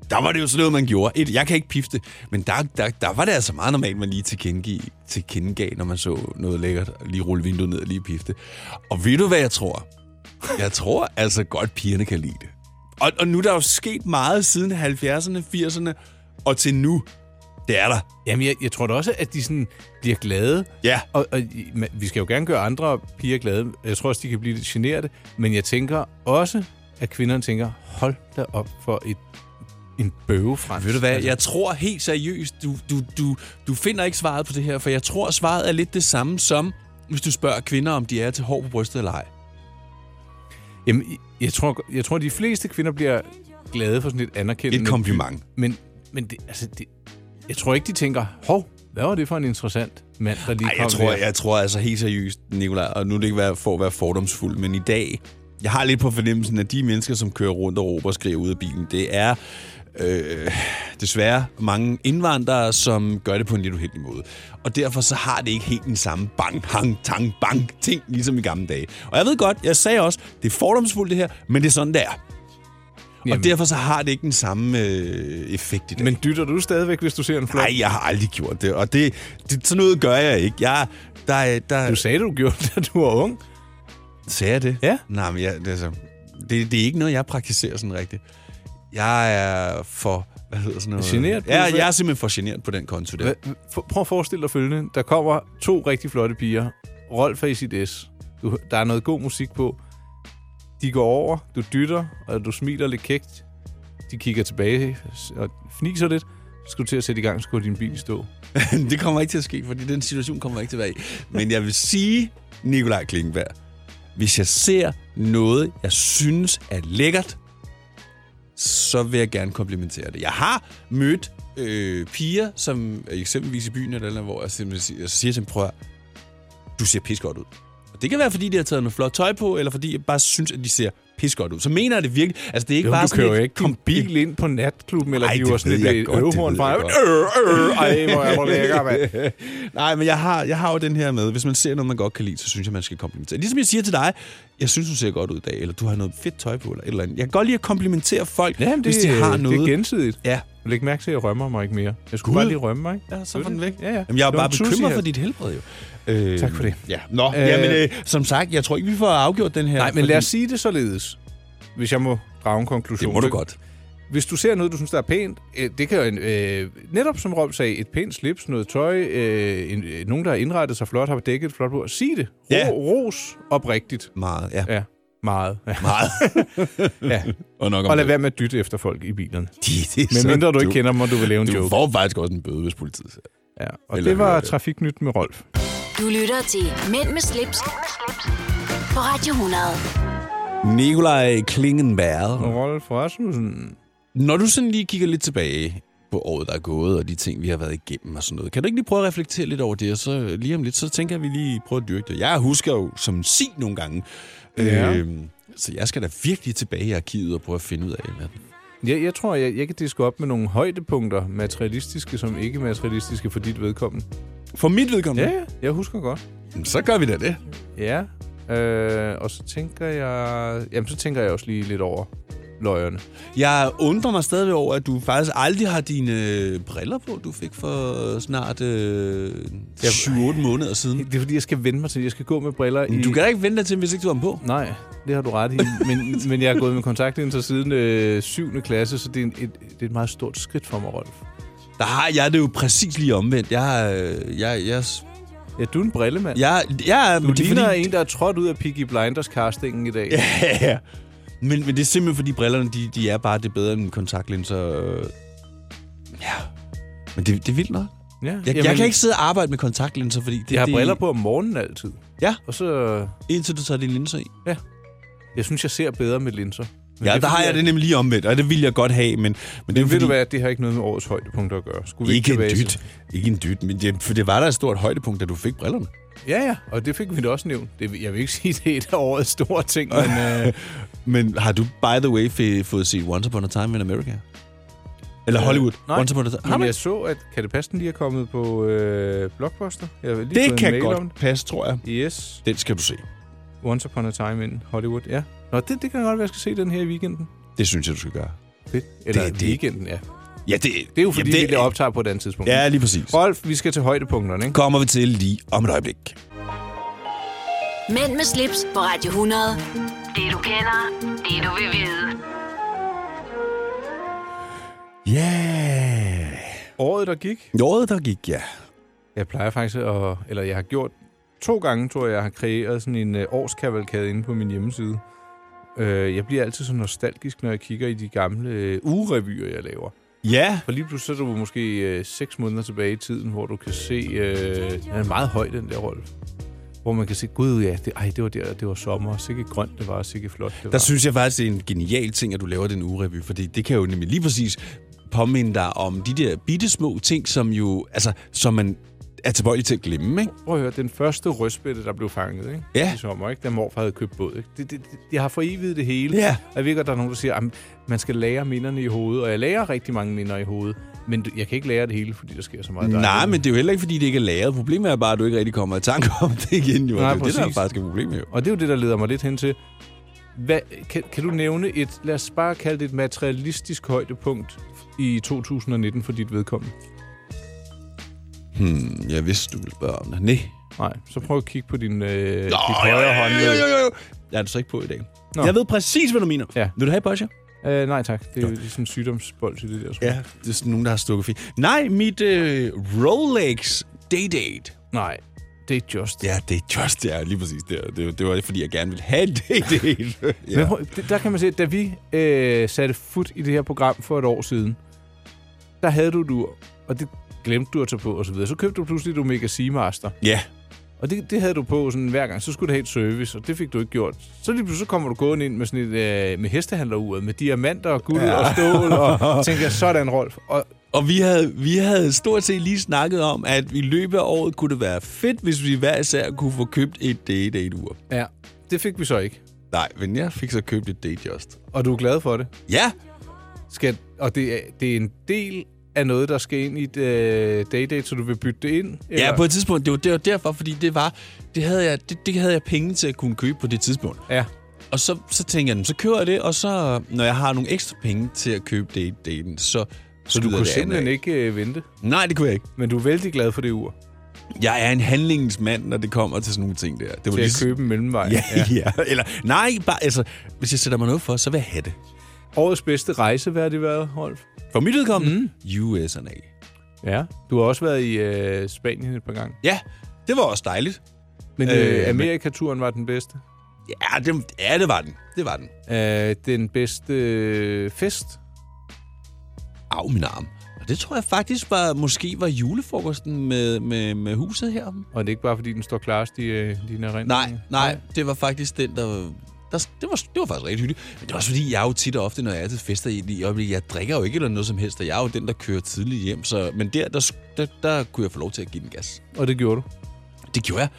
S4: der var det jo sådan noget, man gjorde. Et, jeg kan ikke pifte, men der, der, der var det altså meget normalt, man lige tilkendegav, tilkendegav, når man så noget lækkert, og lige rulle vinduet ned og lige pifte. Og ved du, hvad jeg tror? Jeg tror altså godt, pigerne kan lide det. Og, og nu er der jo sket meget siden 70'erne, 80'erne, og til nu. Det er der.
S2: Jamen, jeg, jeg tror da også, at de sådan bliver glade.
S4: Ja.
S2: Og, og i- men vi skal jo gerne gøre andre piger glade. Jeg tror også, de kan blive lidt generet. Men jeg tænker også, at kvinderne tænker, hold da op for et, en bøve Altså, fransk.
S4: Ved du hvad, jeg tror helt seriøst, du, du, du, du finder ikke svaret på det her, for jeg tror, svaret er lidt det samme som, hvis du spørger kvinder, om de er til hår på brystet eller ej.
S2: Jamen, jeg tror, jeg tror, de fleste kvinder bliver glade for sådan et anerkendende...
S4: Et kompliment.
S2: Men, men det, altså, det, jeg tror ikke, de tænker, hov, hvad var det for en interessant mand, der lige
S4: Ej,
S2: kom
S4: jeg tror,
S2: der?
S4: jeg tror altså helt seriøst, Nicolaj, og nu er det ikke være- for at være fordomsfuld, men i dag, jeg har lidt på fornemmelsen, at de mennesker, som kører rundt og råber og skriger ud af bilen, det er øh, desværre mange indvandrere, som gør det på en lidt uheldig måde. Og derfor så har det ikke helt den samme bang, hang, tang, bang ting, ligesom i gamle dage. Og jeg ved godt, jeg sagde også, det er fordomsfuldt det her, men det er sådan, det er. Jamen.
S2: Jamen.
S4: Og derfor så har det ikke den samme øh, effekt i dag.
S2: Men dytter du stadigvæk, hvis du ser en flot?
S4: Nej, jeg har aldrig gjort det, og det, det sådan noget gør jeg ikke. Jeg, der, er- der,
S2: Du sagde, du gjorde det, da du var ung.
S4: Sagde jeg det?
S2: Ja.
S4: Nej, men jeg, det, er altså, det, det er ikke noget, jeg praktiserer sådan rigtigt. Jeg er for... Hvad hedder sådan noget?
S2: Genert på
S4: Ja,
S2: det?
S4: jeg er simpelthen for generet på den konto der.
S2: Hva- for- Prøv at forestille dig følgende. Der kommer to rigtig flotte piger. Rolf er i sit S. Du, der er noget god musik på. De går over, du dytter, og du smiler lidt kægt. De kigger tilbage og fniser lidt. Så skal du til at sætte i gang, så går din bil i stå.
S4: det kommer ikke til at ske, fordi den situation kommer jeg ikke til at være i. Men jeg vil sige, Nikolaj Klingberg, hvis jeg ser noget, jeg synes er lækkert, så vil jeg gerne komplimentere det. Jeg har mødt øh, piger, som er eksempelvis i byen eller et eller andet, hvor jeg simpelthen siger, jeg siger til dem, prøv at høre, du ser pis godt ud. Og det kan være, fordi de har taget noget flot tøj på, eller fordi jeg bare synes, at de ser pis godt ud. Så mener jeg det virkelig. Altså, det er ikke
S2: Jo,
S4: bare
S2: du
S4: sådan
S2: kører jo
S4: et
S2: ikke din
S4: kombi-
S2: bil ind på natklubben, eller
S4: Ej,
S2: hiver
S4: det
S2: sådan
S4: ved jeg
S2: et
S4: godt, det
S2: øvehorn
S4: ved
S2: fra.
S4: jeg
S2: Øh, øh, ej, hvor er du lækker, mand.
S4: Nej, men jeg har, jeg har jo den her med. Hvis man ser noget, man godt kan lide, så synes jeg, man skal komplimentere. Ligesom jeg siger til dig, jeg synes, du ser godt ud i dag, eller du har noget fedt tøj på, eller et eller andet. Jeg kan godt lide at komplimentere folk,
S2: Jamen, det,
S4: hvis de har noget.
S2: det er gensidigt.
S4: Ja.
S2: Læg mærke til, at jeg rømmer mig ikke mere. Jeg skulle
S4: Gud.
S2: bare lige rømme mig, ikke?
S4: ja, så var den væk.
S2: Ja, ja.
S4: Jamen, jeg er
S2: Det var
S4: bare
S2: en sushi
S4: bekymret
S2: her.
S4: for dit helbred, jo. Øh,
S2: Tak for det.
S4: Ja. Nå,
S2: Øh,
S4: øh, jamen, øh, som sagt, jeg tror ikke, vi får afgjort den her.
S2: Nej, men
S4: fordi-
S2: lad os sige det således, hvis jeg må drage en konklusion.
S4: Det må du godt.
S2: Hvis du ser noget, du synes, der er pænt, øh, det kan jo en, øh, netop som Rolf sagde, et pænt slips, noget tøj, øh, en, øh, nogen, der har indrettet sig flot, har dækket et flot bord. Sig det. Ro,
S4: Ja.
S2: Ros oprigtigt.
S4: Meget, ja.
S2: Ja, meget. Ja.
S4: Meget.
S2: ja.
S4: Og nok om
S2: Og lad
S4: det.
S2: være med at dytte efter folk i bilerne.
S4: Det- det er så
S2: Men mindre du ikke
S4: dumt.
S2: kender dem, og du vil lave en
S4: Du
S2: joke.
S4: får faktisk også en bøde, hvis politiet ser.
S2: Ja. Og
S4: Eller
S2: det var
S4: hører det.
S2: Trafiknyt med Rolf.
S1: Du lytter til Mænd med slips, Mænd med slips. på Radio 100.
S3: Nikolaj Klingenberg.
S2: Rolf Rasmussen.
S4: Når du sådan lige kigger lidt tilbage på året, der er gået, og de ting, vi har været igennem og sådan noget, kan du ikke lige prøve at reflektere lidt over det, og så lige om lidt, så tænker jeg, at vi lige prøver at dyrke det. Jeg husker jo som en sig nogle gange,
S2: Ja.
S4: øhm, så jeg skal da virkelig tilbage i arkivet og prøve at finde ud af, hvad
S2: Jeg, jeg tror, jeg, jeg kan diske op med nogle højdepunkter, materialistiske som ikke-materialistiske, for dit vedkommende.
S4: For mit vedkommende?
S2: Ja, ja, jeg husker godt.
S4: Jamen, Så gør vi da det.
S2: Ja. Øh, og så tænker jeg... Jamen, så tænker jeg også lige lidt over løjerne.
S4: Jeg undrer mig stadig over, at du faktisk aldrig har dine briller på, du fik for snart øh, 7-8 måneder siden.
S2: Det er, fordi jeg skal vende mig til, jeg skal gå med briller i...
S4: Du kan da ikke vente dig til, hvis ikke du har dem på.
S2: Nej, det har du ret i. Men, men jeg har gået med kontaktlinser siden øh, 7. klasse, så det er, en, et, det er et meget stort skridt for mig, Rolf.
S4: Der har jeg det jo præcis lige omvendt. Jeg, øh, jeg, jeg,
S2: Ja, du er en brillemand.
S4: jeg, jeg,
S2: du
S4: men det er
S2: ligner
S4: fordi-
S2: en, der er trådt ud af Piggy Blinders-castingen i dag.
S4: Ja, ja. Men, men det er simpelthen, fordi brillerne, de, de er bare det bedre end kontaktlinser. øh. Ja. Men det, det er vildt nok.
S2: ja.
S4: Jeg, jeg kan ikke sidde og arbejde med kontaktlinser, fordi... Det,
S2: Jeg har
S4: det,
S2: briller på om morgenen altid.
S4: Ja.
S2: Og så...
S4: Indtil du tager dine linser i.
S2: Jeg synes, jeg ser bedre med linser. Men
S4: Ja,
S2: det er
S4: der har
S2: fordi,
S4: jeg
S2: at-
S4: det nemlig lige omvendt, og det vil jeg godt have, men, men det er
S2: Men ved
S4: fordi,
S2: du hvad, det har ikke noget med årets højdepunkter at gøre. Skulle vi
S4: Ikke en
S2: tilbage til-
S4: dyt. Ikke en dyt, men det, for det var da et stort højdepunkt, da du fik brillerne.
S2: Ja, ja, og det fik vi da også nævnt. Det, jeg vil ikke sige, det er et af årets store ting, men... Øh,
S4: Men har du, by the way, fe- fået set Once Upon a Time in America? Eller Hollywood?
S2: Øh, nej,
S4: Once Upon a Time. Har
S2: men
S4: man?
S2: jeg så, at Kattepasten lige er kommet på øh, Blockbuster. Jeg har lige fået
S4: Det
S2: en
S4: kan
S2: mail
S4: godt
S2: Om
S4: passe, tror jeg.
S2: det. Yes.
S4: Den skal du se.
S2: Once Upon a Time in Hollywood, ja. Nå, det, det kan godt være, jeg skal se den her i weekenden.
S4: Det synes jeg, du skal gøre.
S2: Fedt. Eller det,
S4: Det- det-
S2: det. weekenden, ja.
S4: Ja, det,
S2: Det er jo fordi,
S4: jamen,
S2: det, vi det optager på et andet tidspunkt.
S4: Ja, lige præcis.
S2: Rolf, vi skal til højdepunkterne, ikke?
S4: Kommer vi til lige om et øjeblik.
S1: Mænd med slips på Radio 100. Det du kender, det du vil vide.
S4: Ja.
S2: Året, der gik,
S4: Noget, der gik, ja.
S2: Jeg plejer faktisk at... Eller jeg har gjort to gange, tror jeg, jeg har kreeret sådan en øh, årskavalkade inde på min hjemmeside. Øh, jeg bliver altid så nostalgisk, når jeg kigger i de gamle øh, ugerevyer, jeg laver.
S4: Ja.
S2: For lige pludselig så er du måske øh, seks måneder tilbage i tiden, hvor du kan se... Øh, den er meget høj, den der Rolf. Hvor man kan se, gud ja, det, ej, det var der, og det var sommer, og sikke grønt det var, og sikke flot det var.
S4: Der synes jeg faktisk, det er en genial ting, at du laver den ugerevy, fordi det kan jo nemlig lige præcis påminde dig om de der bitte små ting, som jo, altså, som man er tilbøjelig til at glemme, ikke?
S2: Prøv at høre, den første røstbætte, der blev fanget ikke?
S4: Ja.
S2: i sommer, ikke? da morfar havde købt båd. Ikke? Det, det, det, jeg har forevidet det hele.
S4: Ja.
S2: Og jeg ved godt, der er nogen, der siger, at man skal lære minderne i hovedet. Og jeg lærer rigtig mange minder i hovedet. Men du- jeg kan ikke lære det hele, fordi der sker så meget.
S4: Nej,
S2: dejligt.
S4: men det er jo heller ikke, fordi det ikke er lavet. Problemet er bare, at du ikke rigtig kommer i tanke om det igen, jo.
S2: Nej,
S4: det er jo det, der er
S2: præcis.
S4: faktisk er problemet, jo.
S2: Og det er jo det, der leder mig lidt hen til. Hvad, kan, kan du nævne et, lad os bare kalde det et materialistisk højdepunkt i 2019 for dit vedkommende?
S4: Hmm, jeg vidste, du ville spørge om det. Nej.
S2: Nej, så prøv at kigge på din, øh, dit
S4: Åh, jo,
S2: højre
S4: jo,
S2: hånd.
S4: jo, jo, jo, jo. Jeg er det så ikke på i dag.
S2: Nå.
S4: Jeg ved præcis, hvad du mener.
S2: Ja.
S4: Vil du have Boscher?
S2: Øh, nej tak, det er jo sådan en sygdomsbold i det der. tror jeg.
S4: Det er sådan nogen, der har stukket fint. Nej, mit øh, Rolex Day-Date.
S2: Nej, det er just.
S4: Ja, det er just, ja, lige præcis. Det, det, det var det, fordi jeg gerne ville have en date.
S2: Ja. Men prøv, det- der kan man se, at da vi øh, satte fod i det her program for et år siden, der havde du du og det glemte du at tage på osv. Så købte du pludselig et Omega Seamaster,
S4: ja.
S2: og det, det havde du på sådan hver gang. Så skulle det have et service, og det fik du ikke gjort. Så lige pludselig kommer du gående ind med sådan et, øh, med hestehandleruret, med diamanter og guld ja. og stål, og tænker, sådan Rolf. Og
S4: Og vi havde, vi havde stort set lige snakket om, at i løbet af året kunne det være fedt, hvis vi hver især kunne få købt et day-date-ur.
S2: ja, det fik vi så ikke.
S4: Nej, men jeg fik så købt et date just.
S2: Og du er glad for det.
S4: Ja,
S2: Skal, og det er, det er en del af noget, der skal ind i et øh, day-date, så du vil bytte det ind?
S4: ja, på et tidspunkt. Det var, det var derfor, fordi det var, det havde, jeg, det, det havde jeg penge til at kunne købe på det tidspunkt.
S2: Ja.
S4: Og så, så tænker jeg, "Nå, så kører jeg det, og så, når jeg har nogle ekstra penge til at købe date-daten, så
S2: Så du
S4: skyder
S2: kunne
S4: det andet
S2: simpelthen
S4: af.
S2: ikke øh, vente?
S4: Nej, det kunne jeg ikke.
S2: Men du er vældig glad for det ur,
S4: Jeg er en handlingsmand, når det kommer til sådan nogle ting der. Det var
S2: til at
S4: så-
S2: købe en mellemvej.
S4: Ja, ja. Eller, nej, bare, altså, hvis jeg sætter mig noget for, så vil jeg have det.
S2: Årets bedste rejse, hvad har det været, Rolf?
S4: For mit udkommende, mm. USA.
S2: Ja. Du har også været i øh, Spanien et par gange.
S4: Ja, det var også dejligt.
S2: Men
S4: Øh,
S2: øh,
S4: men-
S2: øh, Amerikaturen var den bedste.
S4: Ja, det, ja, det var den. Det var den.
S2: Øh, den bedste øh, fest.
S4: Au, min arm. Og det tror jeg faktisk var, måske var julefrokosten med, med, med huset her.
S2: Og det er ikke bare, fordi den står klarest i øh, dine erindringer.
S4: Nej, nej, det var faktisk den, der der, det, var, det var faktisk rigtig hyggeligt. Men det var også fordi, jeg er jo tit og ofte, når jeg er til fester i, i øjeblikket, jeg drikker jo ikke eller noget som helst, og jeg er jo den, der kører tidligt hjem. Så, men der, der, sk- der, der kunne jeg få lov til at give den gas.
S2: Og det gjorde du.
S4: Det gjorde jeg.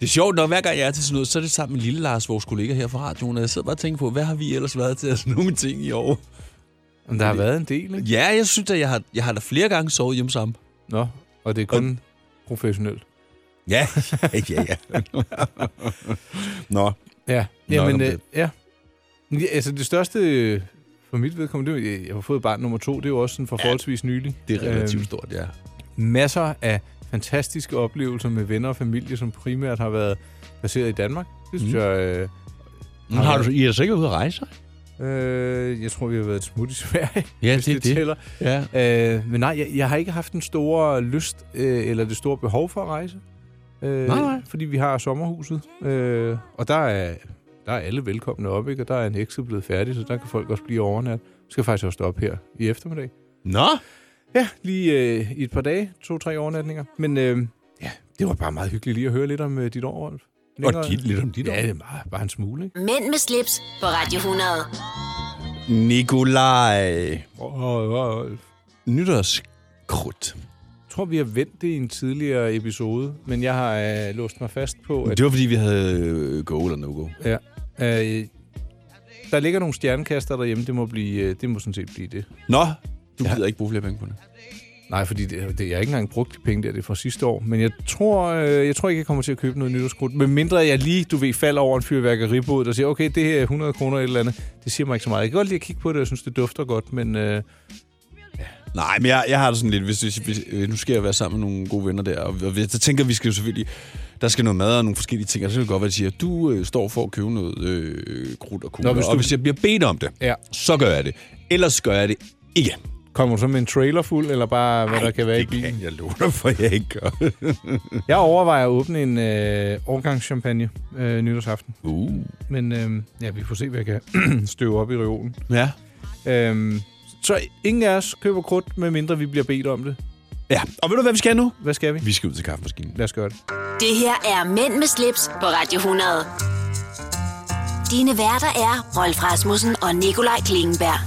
S4: Det er sjovt, når hver gang jeg er til sådan noget, så er det sammen med Lille Lars, vores kollega her fra radioen, og jeg sidder bare og tænker på, hvad har vi ellers været til at sådan nogle ting i år?
S2: Men der har været en del, ikke?
S4: Ja, jeg synes, at jeg har, jeg har da flere gange sovet hjemme sammen.
S2: Nå, og det er kun professionelt.
S3: Ja, ja, ja. Nå,
S2: Ja,
S3: Nok
S2: Jamen,
S3: om
S2: øh,
S3: det.
S2: ja. Men ja, altså det største øh, for mit vedkommende, det var, jeg har fået barn nummer to, det er jo også sådan for forholdsvis nylig.
S4: Det er relativt
S2: Øhm,
S4: stort, ja.
S2: Masser af fantastiske oplevelser med venner og familie, som primært har været baseret i Danmark. Det synes mm. jeg... Øh,
S4: Men har du, I er sikkert ude at rejse?
S2: øh, jeg tror, vi har været et smut i Sverige,
S4: Ja,
S2: hvis
S4: det er
S2: det,
S4: det.
S2: tæller.
S4: Ja.
S2: Øh, men nej, jeg, jeg har ikke haft den store lyst øh, eller det store behov for at rejse. Øh,
S4: Nej, nej.
S2: Fordi vi har sommerhuset, øh, og der er, der er alle velkomne op, ikke? og der er en hekse blevet færdig, så der kan folk også blive overnat. Vi skal faktisk også stoppe her i eftermiddag.
S4: Nå,
S2: Ja, lige øh, i et par dage, to-tre overnatninger. Men øh, ja, det var bare meget hyggeligt lige at høre lidt om øh, dit år, Rolf. Længere-
S3: dit- lidt om dit år.
S2: Ja, det er bare, bare en smule, ikke?
S1: Mænd med slips på Radio 100.
S3: Nikolaj.
S2: Rolf.
S4: nytårskrudt.
S2: Jeg tror, vi har vendt det i en tidligere episode, men jeg har øh, låst mig fast på, at
S4: Det var, fordi vi havde øh, go eller no-go.
S2: Ja. Øh, der ligger nogle stjernekaster derhjemme. Det må, blive, øh, det må sådan set blive det.
S4: Nå, du ja. gider ikke bruge flere penge på det.
S2: Nej, fordi det, det, jeg har ikke engang brugt de penge der, det er fra sidste år. Men jeg tror, øh, jeg tror ikke, jeg kommer til at købe noget nytårskrudt. Men mindre jeg lige, du ved, falder over en fyrværkeribod, der siger, okay, det her er 100 kroner eller et eller andet. Det siger mig ikke så meget. Jeg kan godt lide at kigge på det, jeg synes, det dufter godt, men øh,
S4: Nej, men jeg, jeg har det sådan lidt, hvis, hvis, hvis øh, nu skal jeg være sammen med nogle gode venner der, og, og vi- så tænker vi skal jo selvfølgelig, der skal noget mad og nogle forskellige ting, og så kan det godt være, at de siger, du øh, står for at købe noget øh, krudt og kugler,
S2: hvis
S4: og
S2: du-
S4: hvis jeg bliver bedt om det,
S2: Ja.
S4: så gør jeg det. Ellers gør jeg det ikke.
S2: kommer du så med en trailer fuld, eller bare hvad der kan være i bilen?
S3: Jeg lover dig, for jeg ikke gør.
S2: Jeg overvejer at åbne en øh, årgangschampagne øh, nytårsaften.
S4: Uh.
S2: Men øh, ja, vi får se, hvad jeg kan støve op i reolen.
S4: Ja.
S2: Øhm, så ingen af os køber krudt, medmindre vi bliver bedt om det.
S4: ja. Og ved du, hvad vi skal nu?
S2: Hvad skal vi?
S4: Vi skal ud til kaffemaskinen.
S2: Lad os gøre det.
S1: Det her er Mænd med slips på Radio 100. Dine værter er Rolf Rasmussen og Nikolaj Klingenberg.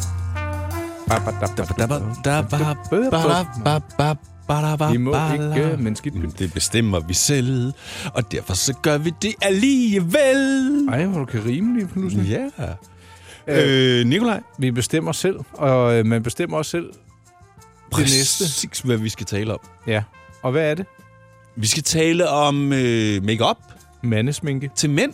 S2: Vi må ikke, øh, men skidt.
S3: Det bestemmer vi.
S4: vi selv, og derfor så gør vi det alligevel.
S2: Ej, hvor du kan rime lige pludselig.
S4: Ja. Øh, Nikolaj,
S2: Mm. Vi bestemmer selv, og øh, man bestemmer også selv. næste.
S4: præcis hvad vi skal tale om.
S2: Ja. Og hvad er det?
S4: Vi skal tale om øh, makeup
S2: Mandesminke.
S4: til mænd,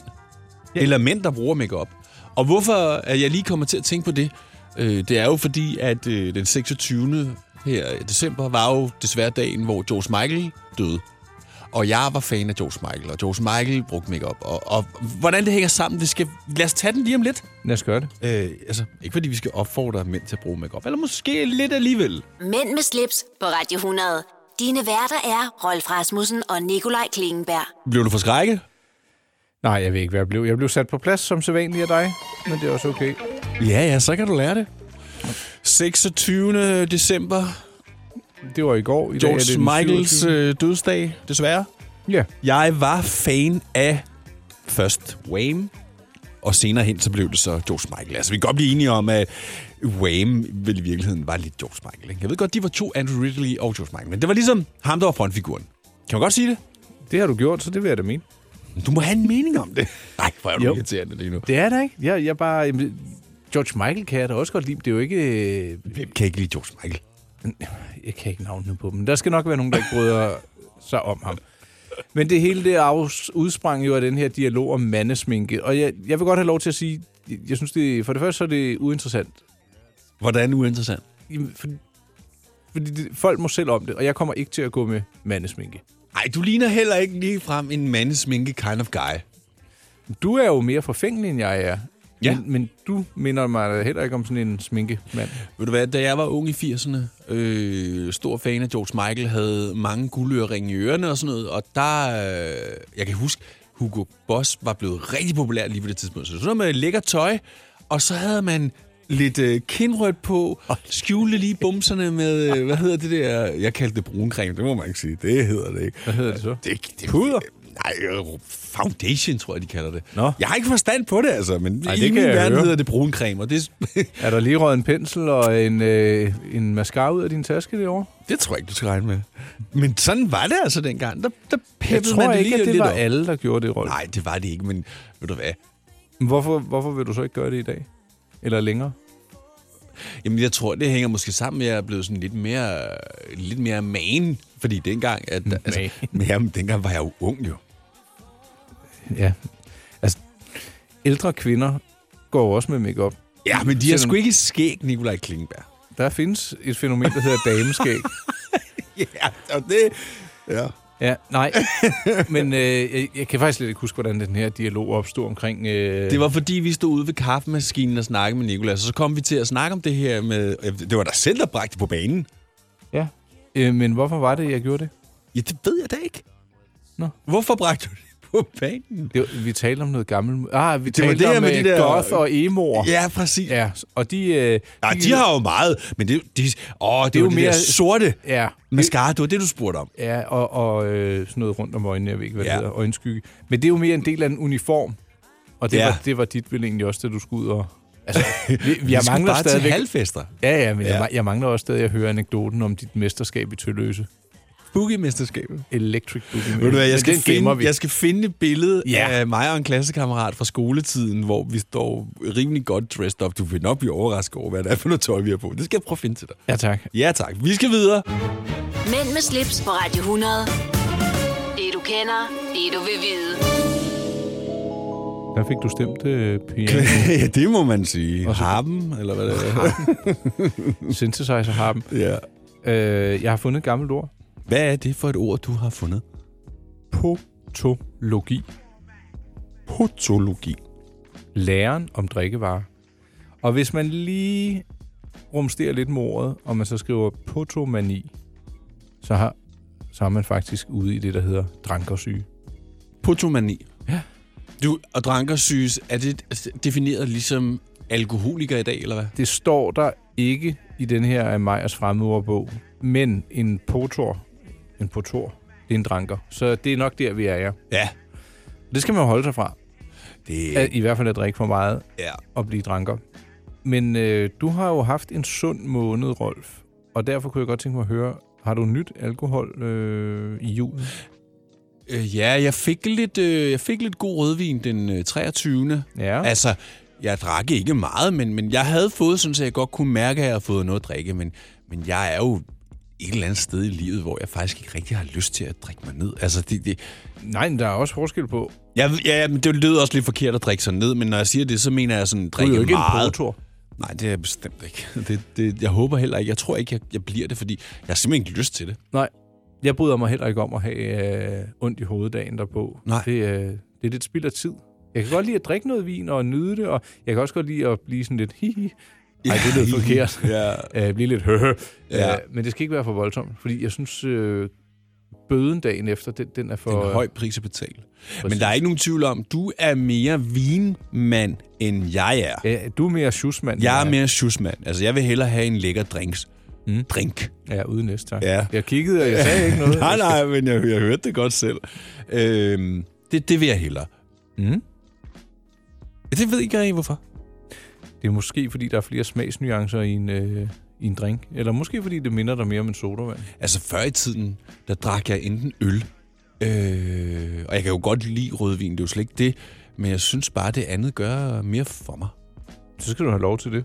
S4: ja. eller mænd, der bruger makeup. Og hvorfor at jeg lige kommer til at tænke på det, øh, det er jo fordi, at øh, den 26. her i december var jo desværre dagen, hvor George Michael døde. Og jeg var fan af George Michael, og George Michael brugte makeup. Og, og hvordan det hænger sammen, det skal... Lad os tage den lige om lidt.
S2: Lad os gøre det.
S4: Øh, altså, ikke fordi vi skal opfordre mænd til at bruge makeup, eller måske lidt alligevel.
S1: Mænd med slips på Radio 100. Dine værter er Rolf Rasmussen og Nikolaj Klingenberg.
S4: Blev du forskrækket?
S2: Nej, jeg ved ikke, hvad jeg blev. Jeg blev sat på plads som sædvanlig af dig, men det er også okay.
S4: Ja, ja, så kan du lære det. 26. december,
S2: Det var i går. I dag er det
S4: George
S2: den
S4: Michaels
S2: 27..
S4: øh, dødsdag, desværre.
S2: Ja.
S4: Jeg var fan af først Wham, og senere hen, så blev det så George Michael. Altså, vi kan godt blive enige om, at Wham vel i virkeligheden var lidt George Michael. Ikke? Jeg ved godt, de var to Andrew Ridley og George Michael, men det var ligesom ham, der var frontfiguren. Kan man godt sige det?
S2: Det har du gjort, så det vil jeg da mene.
S4: Du må have en mening om det. Nej, hvor er du
S2: Jo.
S4: irriterende lige nu.
S2: Det er det ikke. Jeg, jeg bare... jamen, George Michael kan jeg da også godt lide. Det er jo ikke... øh,
S4: Hvem kan ikke lide George Michael?
S2: jeg kan ikke navnene på dem. Der skal nok være nogen, der ikke bryder sig om ham. Men det hele det afs- udsprang jo af den her dialog om mandesminke. Og jeg, jeg vil godt have lov til at sige, jeg, jeg synes, det, for det første så er det uinteressant.
S4: Hvordan uinteressant?
S2: Jamen, For, fordi det, folk må selv om det, og jeg kommer ikke til at gå med mandesminke.
S4: Ej, du ligner heller ikke lige frem en mandesminke kind of guy.
S2: Du er jo mere forfængelig, end jeg er.
S4: Ja.
S2: Men, men du minder mig da heller ikke om sådan en sminkemand.
S4: Ved du hvad, da jeg var ung i 80'erne, øh, stor fan af George Michael, havde mange guldøreringe i ørerne og sådan noget, og der, øh, jeg kan huske, Hugo Boss var blevet rigtig populær lige på det tidspunkt. Så sådan noget med lækker tøj, og så havde man lidt øh, kindrødt på, skjule lige bumserne med, øh, hvad hedder det der, jeg kaldte det bruncreme, det må man ikke sige, det hedder det ikke.
S2: Hvad hedder det så?
S4: Det, det, puder?
S3: Nej, øh,
S4: Foundation, tror jeg, de kalder det.
S2: Nå.
S3: jeg har ikke forstand på det, altså, men Ej,
S4: Ej,
S3: i
S4: det
S3: det
S4: kan
S3: min
S4: jeg
S3: verden
S4: høre.
S3: hedder det brun creme, og det,
S2: Er der lige røget en pensel og en, øh, en mascara ud af din taske derovre?
S3: det tror jeg ikke, du skal regne med. Men sådan var det altså dengang. Der, der
S2: Jeg
S3: peppede man
S2: tror
S3: det
S2: ikke,
S3: lige
S2: at det
S3: lidt
S2: var
S3: op.
S2: alle, der gjorde det, Rolf.
S3: Nej, det var det ikke, men ved du hvad?
S2: Men Hvorfor, hvorfor vil du så ikke gøre det i dag? Eller længere?
S4: Jamen, jeg tror, det hænger måske sammen med, at jeg er blevet sådan lidt mere, lidt mere man. Fordi dengang, at, altså,
S3: Men jamen, dengang var jeg jo ung, jo.
S2: Ja. Altså, ældre kvinder går jo også med makeup.
S3: Ja, men de
S2: Selvom-
S3: har sgu ikke skæg, Nikolaj Klingenberg.
S2: Der findes et fænomen, der hedder dameskæg.
S3: Ja, og det... Ja.
S2: Ja, nej. Men øh, jeg, jeg kan faktisk slet ikke huske, hvordan den her dialog opstod omkring... Øh,
S4: det var fordi, vi stod ude ved kaffemaskinen og snakkede med Nicolas, og så kom vi til at snakke om det her med...
S3: Øh, Det var dig selv, der bragte det på banen.
S2: Ja. Øh, men hvorfor var det, jeg gjorde det?
S3: Ja, det ved jeg da ikke.
S2: Nå.
S3: Hvorfor bragte du det på banen?
S2: det var, vi talte om noget gammelt... Ah, vi
S3: var
S2: talte
S3: det her
S2: om
S3: med
S2: med
S3: de
S2: de
S3: der-
S2: goth og emoer.
S3: Ja, præcis. Ja.
S2: Ja, og de... Øh,
S3: Nej, de har jo meget, men det, de, åh, det, det er jo
S2: jo
S3: mere
S2: mere-
S3: sorte
S2: Ja,
S3: mascara. Det var det, du spurgte om.
S2: ja og, og øh, sådan noget rundt om øjnene, jeg ved ikke, hvad ja.
S3: Ja.
S2: det hedder, øjenskygge. Men det er jo mere en del af en uniform, og det,
S3: Ja.
S2: ja. var, det var dit vel egentlig også, da du skulle ud og... Altså, vi, vi,
S3: Jeg
S2: jeg
S3: vi skulle
S2: mangler
S3: bare til
S2: stadigvæk...
S3: halvfester.
S2: Ja, ja, men
S3: Ja.
S2: ja. Jeg, jeg mangler også stadig at høre anekdoten om dit mesterskab i Tølløse.
S4: Boogie-mesterskabet.
S2: Electric Boogie.
S3: Ved du hvad,
S2: Men
S3: jeg skal,
S2: den gemmer
S3: finde,
S2: vi.
S3: jeg skal finde et billede
S2: Ja.
S3: af mig og en klassekammerat fra skoletiden, hvor vi står rimelig godt dressed up. Du vil nok blive overrasket over, hvad det er for noget tøj, vi har på. Det skal jeg prøve at finde til dig.
S2: Ja, tak.
S3: Ja tak, vi skal videre.
S1: Mænd med slips på Radio 100. Det du kender, det du vil vide.
S2: Der fik du stemt øh, piano,
S3: ja, det må man sige.
S2: Og så-
S3: Harpen, eller hvad det er.
S2: synthesizer harpen.
S3: ja.
S2: Øh, jeg har fundet et gammelt ord.
S4: Hvad er det for et ord, du har fundet?
S2: Potologi.
S3: Potologi.
S2: Læren om drikkevarer. Og hvis man lige rumsterer lidt med ordet, og man så skriver potomani, så har så er man faktisk ude i det, der hedder drankersyge.
S4: Potomani. Ja. Du, og drankersyges, er det altså, defineret ligesom alkoholiker i dag, eller hvad?
S2: Det står der ikke i den her af Meyers fremmedordbog, men en potor, en potor, det er en dranker. Så det er nok der, vi er, ja.
S4: Ja.
S2: Det skal man jo holde sig fra.
S3: Det
S2: At, I hvert fald at drikke for meget
S3: Ja.
S2: og blive dranker. Men øh, du har jo haft en sund måned, Rolf. Og derfor kunne jeg godt tænke mig at høre, har du nyt alkohol øh, i julen?
S4: Øh, ja, jeg fik, lidt, øh, jeg fik lidt god rødvin den øh, 23.
S2: Ja.
S4: Altså, jeg drak ikke meget, men, men jeg havde fået sådan, at jeg godt kunne mærke, at jeg havde fået noget at drikke. Men, men jeg er jo et eller andet sted i livet, hvor jeg faktisk ikke rigtig har lyst til at drikke mig ned. Altså, det, det,
S2: Nej, men der er også forskel på.
S4: jeg, ja, ja, men det lyder også lidt forkert at drikke sig ned, men når jeg siger det, så mener jeg sådan, at
S2: Du er
S4: drikke
S2: jo ikke
S4: meget.
S2: en potor.
S4: Nej, det er jeg bestemt ikke. Det, det, jeg håber heller ikke. Jeg tror ikke, jeg, jeg bliver det, fordi jeg har simpelthen ikke lyst til det.
S2: Nej. Jeg bryder mig heller ikke om at have øh, ondt i hoveddagen derpå.
S4: Nej.
S2: Det, øh, det er lidt spild af tid. Jeg kan godt lide at drikke noget vin og nyde det, og jeg kan også godt lide at blive sådan lidt hihi. Nej, det lyder forkert.
S3: Ja.
S2: øh, blive lidt høhø.
S3: Ja.
S2: Ja. Øh, men det skal ikke være for voldsomt, fordi jeg synes, øh, bøden dagen efter, den, den er for...
S4: Det er en høj pris at betale. Men der er ikke nogen tvivl om, du er mere vinmand, end jeg er.
S2: Ja, du er mere sjusmand.
S4: Jeg er mere sjusmand. Altså, jeg vil hellere have en lækker drinks. Mm. Drink.
S2: Ja, uden næste tak.
S3: Ja.
S2: Jeg kiggede, og jeg sagde ikke noget.
S4: nej, nej, men jeg, jeg hørte det godt selv. Øhm, det, det vil jeg hellere.
S2: Mm.
S4: Ja, Det ved jeg ikke rigtig, hvorfor.
S2: Det er måske, fordi der er flere smagsnuancer i en, øh, i en drink. Eller måske, fordi det minder dig mere om en sodavand.
S4: Altså, før i tiden, der drak jeg enten øl, øh, og jeg kan jo godt lide rødvin, det er jo slet ikke det, men jeg synes bare, det andet gør mere for mig.
S2: Så skal du have lov til det.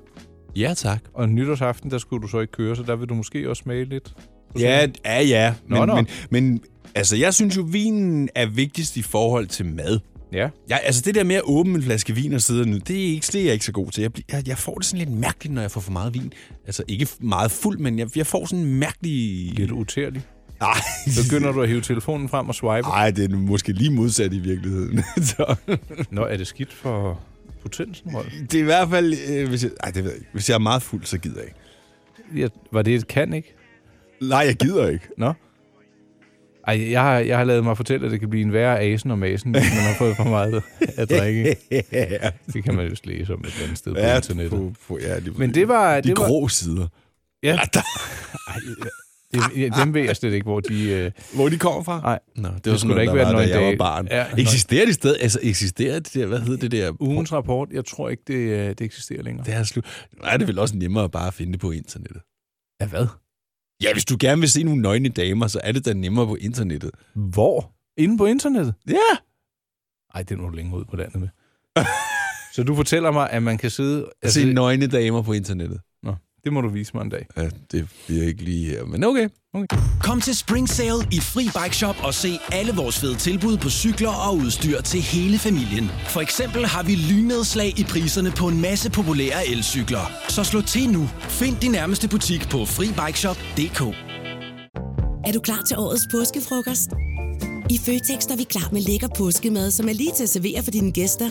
S4: Ja, tak.
S2: Og nytårsaften, der skulle du så ikke køre, så der vil du måske også smage lidt.
S4: Ja, ja, ja. Men,
S2: Nå, nå.
S4: Men, men altså, jeg synes jo, vinen er vigtigst i forhold til mad.
S2: Ja.
S4: Ja, altså det der med at åbne en flaske vin og sidde og nyde, det er ikke slet jeg er ikke så god til. Jeg, bliver, jeg, jeg får det sådan lidt mærkeligt, når jeg får for meget vin. Altså ikke f- meget fuld, men jeg, jeg får sådan en mærkelig...
S2: Lidt utærlig.
S4: Nej,
S2: Så begynder du at hive telefonen frem og swipe.
S3: Ej, det er måske lige modsat i virkeligheden. Så,
S4: Ah.
S2: Nå, er det skidt for potensen, Rolf?
S3: det er i hvert fald... Øh, hvis jeg, ej, det ved jeg ikke. Hvis jeg er meget fuld, så gider jeg ikke.
S2: Ja, var det et kan, ikke?
S3: Nej, jeg gider ikke.
S2: Nå? Ej, jeg har, jeg har lavet mig fortælle, at det kan blive en værre asen og masen, hvis man har fået for meget at drikke. Det kan man jo læse om et eller andet sted på internettet.
S3: på, på, ja, lige
S2: Men det var...
S3: De
S2: det var,
S3: grå sider.
S2: Ja.
S3: der,
S2: Ej, Det, ja, dem ved jeg slet ikke, hvor de... Øh,
S4: Hvor de kommer fra?
S2: Nej.
S4: Nå, det,
S2: skulle
S4: var sådan
S2: da
S4: noget,
S2: ikke
S4: der
S2: være
S4: var, da
S2: noget
S4: jeg
S2: i
S4: var
S2: dag.
S4: barn.
S2: Ja,
S4: Ja,
S2: nej.
S4: eksisterer det sted? Altså, eksisterer det der, hvad hedder det der?
S2: ugens rapport, jeg tror ikke, det, øh, det eksisterer længere.
S4: Det er slut. Nu er det vel også nemmere bare at finde det på internettet. Ja, hvad? Ja, hvis du gerne vil se nogle nøgne damer, så er det da nemmere på internettet.
S2: Hvor? Inde på internettet?
S4: Ja!
S2: Nej, det er du længe ud på landet med. Så du fortæller mig, at man kan sidde...
S4: At se nøgne damer på internettet.
S2: Altså, Nå, det må du vise mig en dag.
S4: Ja, det bliver ikke lige her, men okay.
S8: Kom til Spring Sale i Fri Bike Shop og se alle vores fede tilbud på cykler og udstyr til hele familien. For eksempel har vi lynedslag i priserne på en masse populære elcykler. Så slå til nu. Find din nærmeste butik på FriBikeShop.dk
S7: Er du klar til årets påskefrokost? I Føtex er vi klar med lækker påskemad, som er lige til at servere for dine gæster.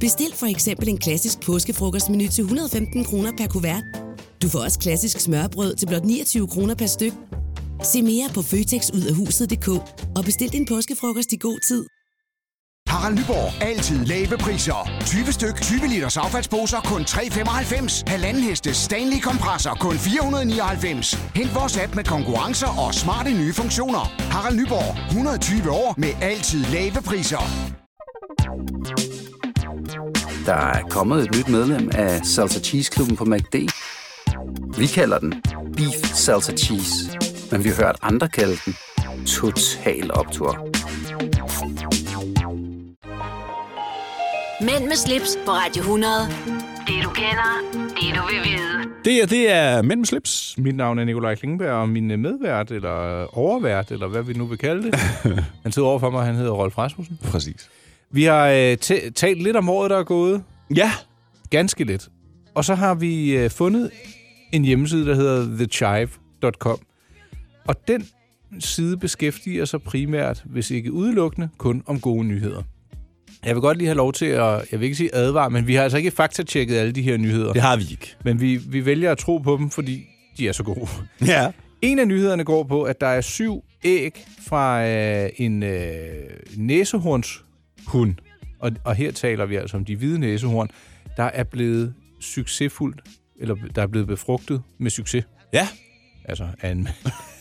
S7: Bestil for eksempel en klassisk påskefrokostmenu til 115 kroner per kuvert. Du får også klassisk smørbrød til blot 29 kroner per styk. Se mere på føtexudafhuset.dk og bestil din påskefrokost i god tid.
S5: Harald Nyborg. Altid lave priser. 20 styk, 20 liters affaldsposer kun 3,95. Halvanden heste Stanley kompresser kun 499. Hent vores app med konkurrencer og smarte nye funktioner. Harald Nyborg. 120 år med altid lave priser.
S10: Der er kommet et nyt medlem af Salsa Cheese Klubben på MACD. Vi kalder den Beef Salsa Cheese, men vi har hørt andre kalde den Total Optor.
S1: Mænd med slips på Radio 100. Det du kender, det du vil vide.
S11: Det, her, det er Mænd med slips.
S2: Mit navn er Nikolaj Klingberg, og min øh, medvært, eller øh, overvært, eller hvad vi nu vil kalde det, han sidder overfor mig, han hedder Rolf Rasmussen.
S4: Præcis.
S2: Vi har øh, t- talt lidt om året, der er gået.
S11: Ja.
S2: Ganske lidt. Og så har vi øh, fundet en hjemmeside, der hedder thechive.com. Og den side beskæftiger sig primært, hvis ikke udelukkende, kun om gode nyheder. Jeg vil godt lige have lov til at, jeg vil ikke sige advare, men vi har altså ikke faktatjekket alle de her nyheder.
S4: Det har vi ikke.
S2: Men vi, vi vælger at tro på dem, fordi de er så gode.
S4: Ja.
S2: En af nyhederne går på, at der er syv æg fra øh, en øh, næsehornshund. Og, og her taler vi altså om de hvide næsehorn, der er blevet succesfuldt, eller der er blevet befrugtet med succes.
S4: Ja.
S2: Altså af en,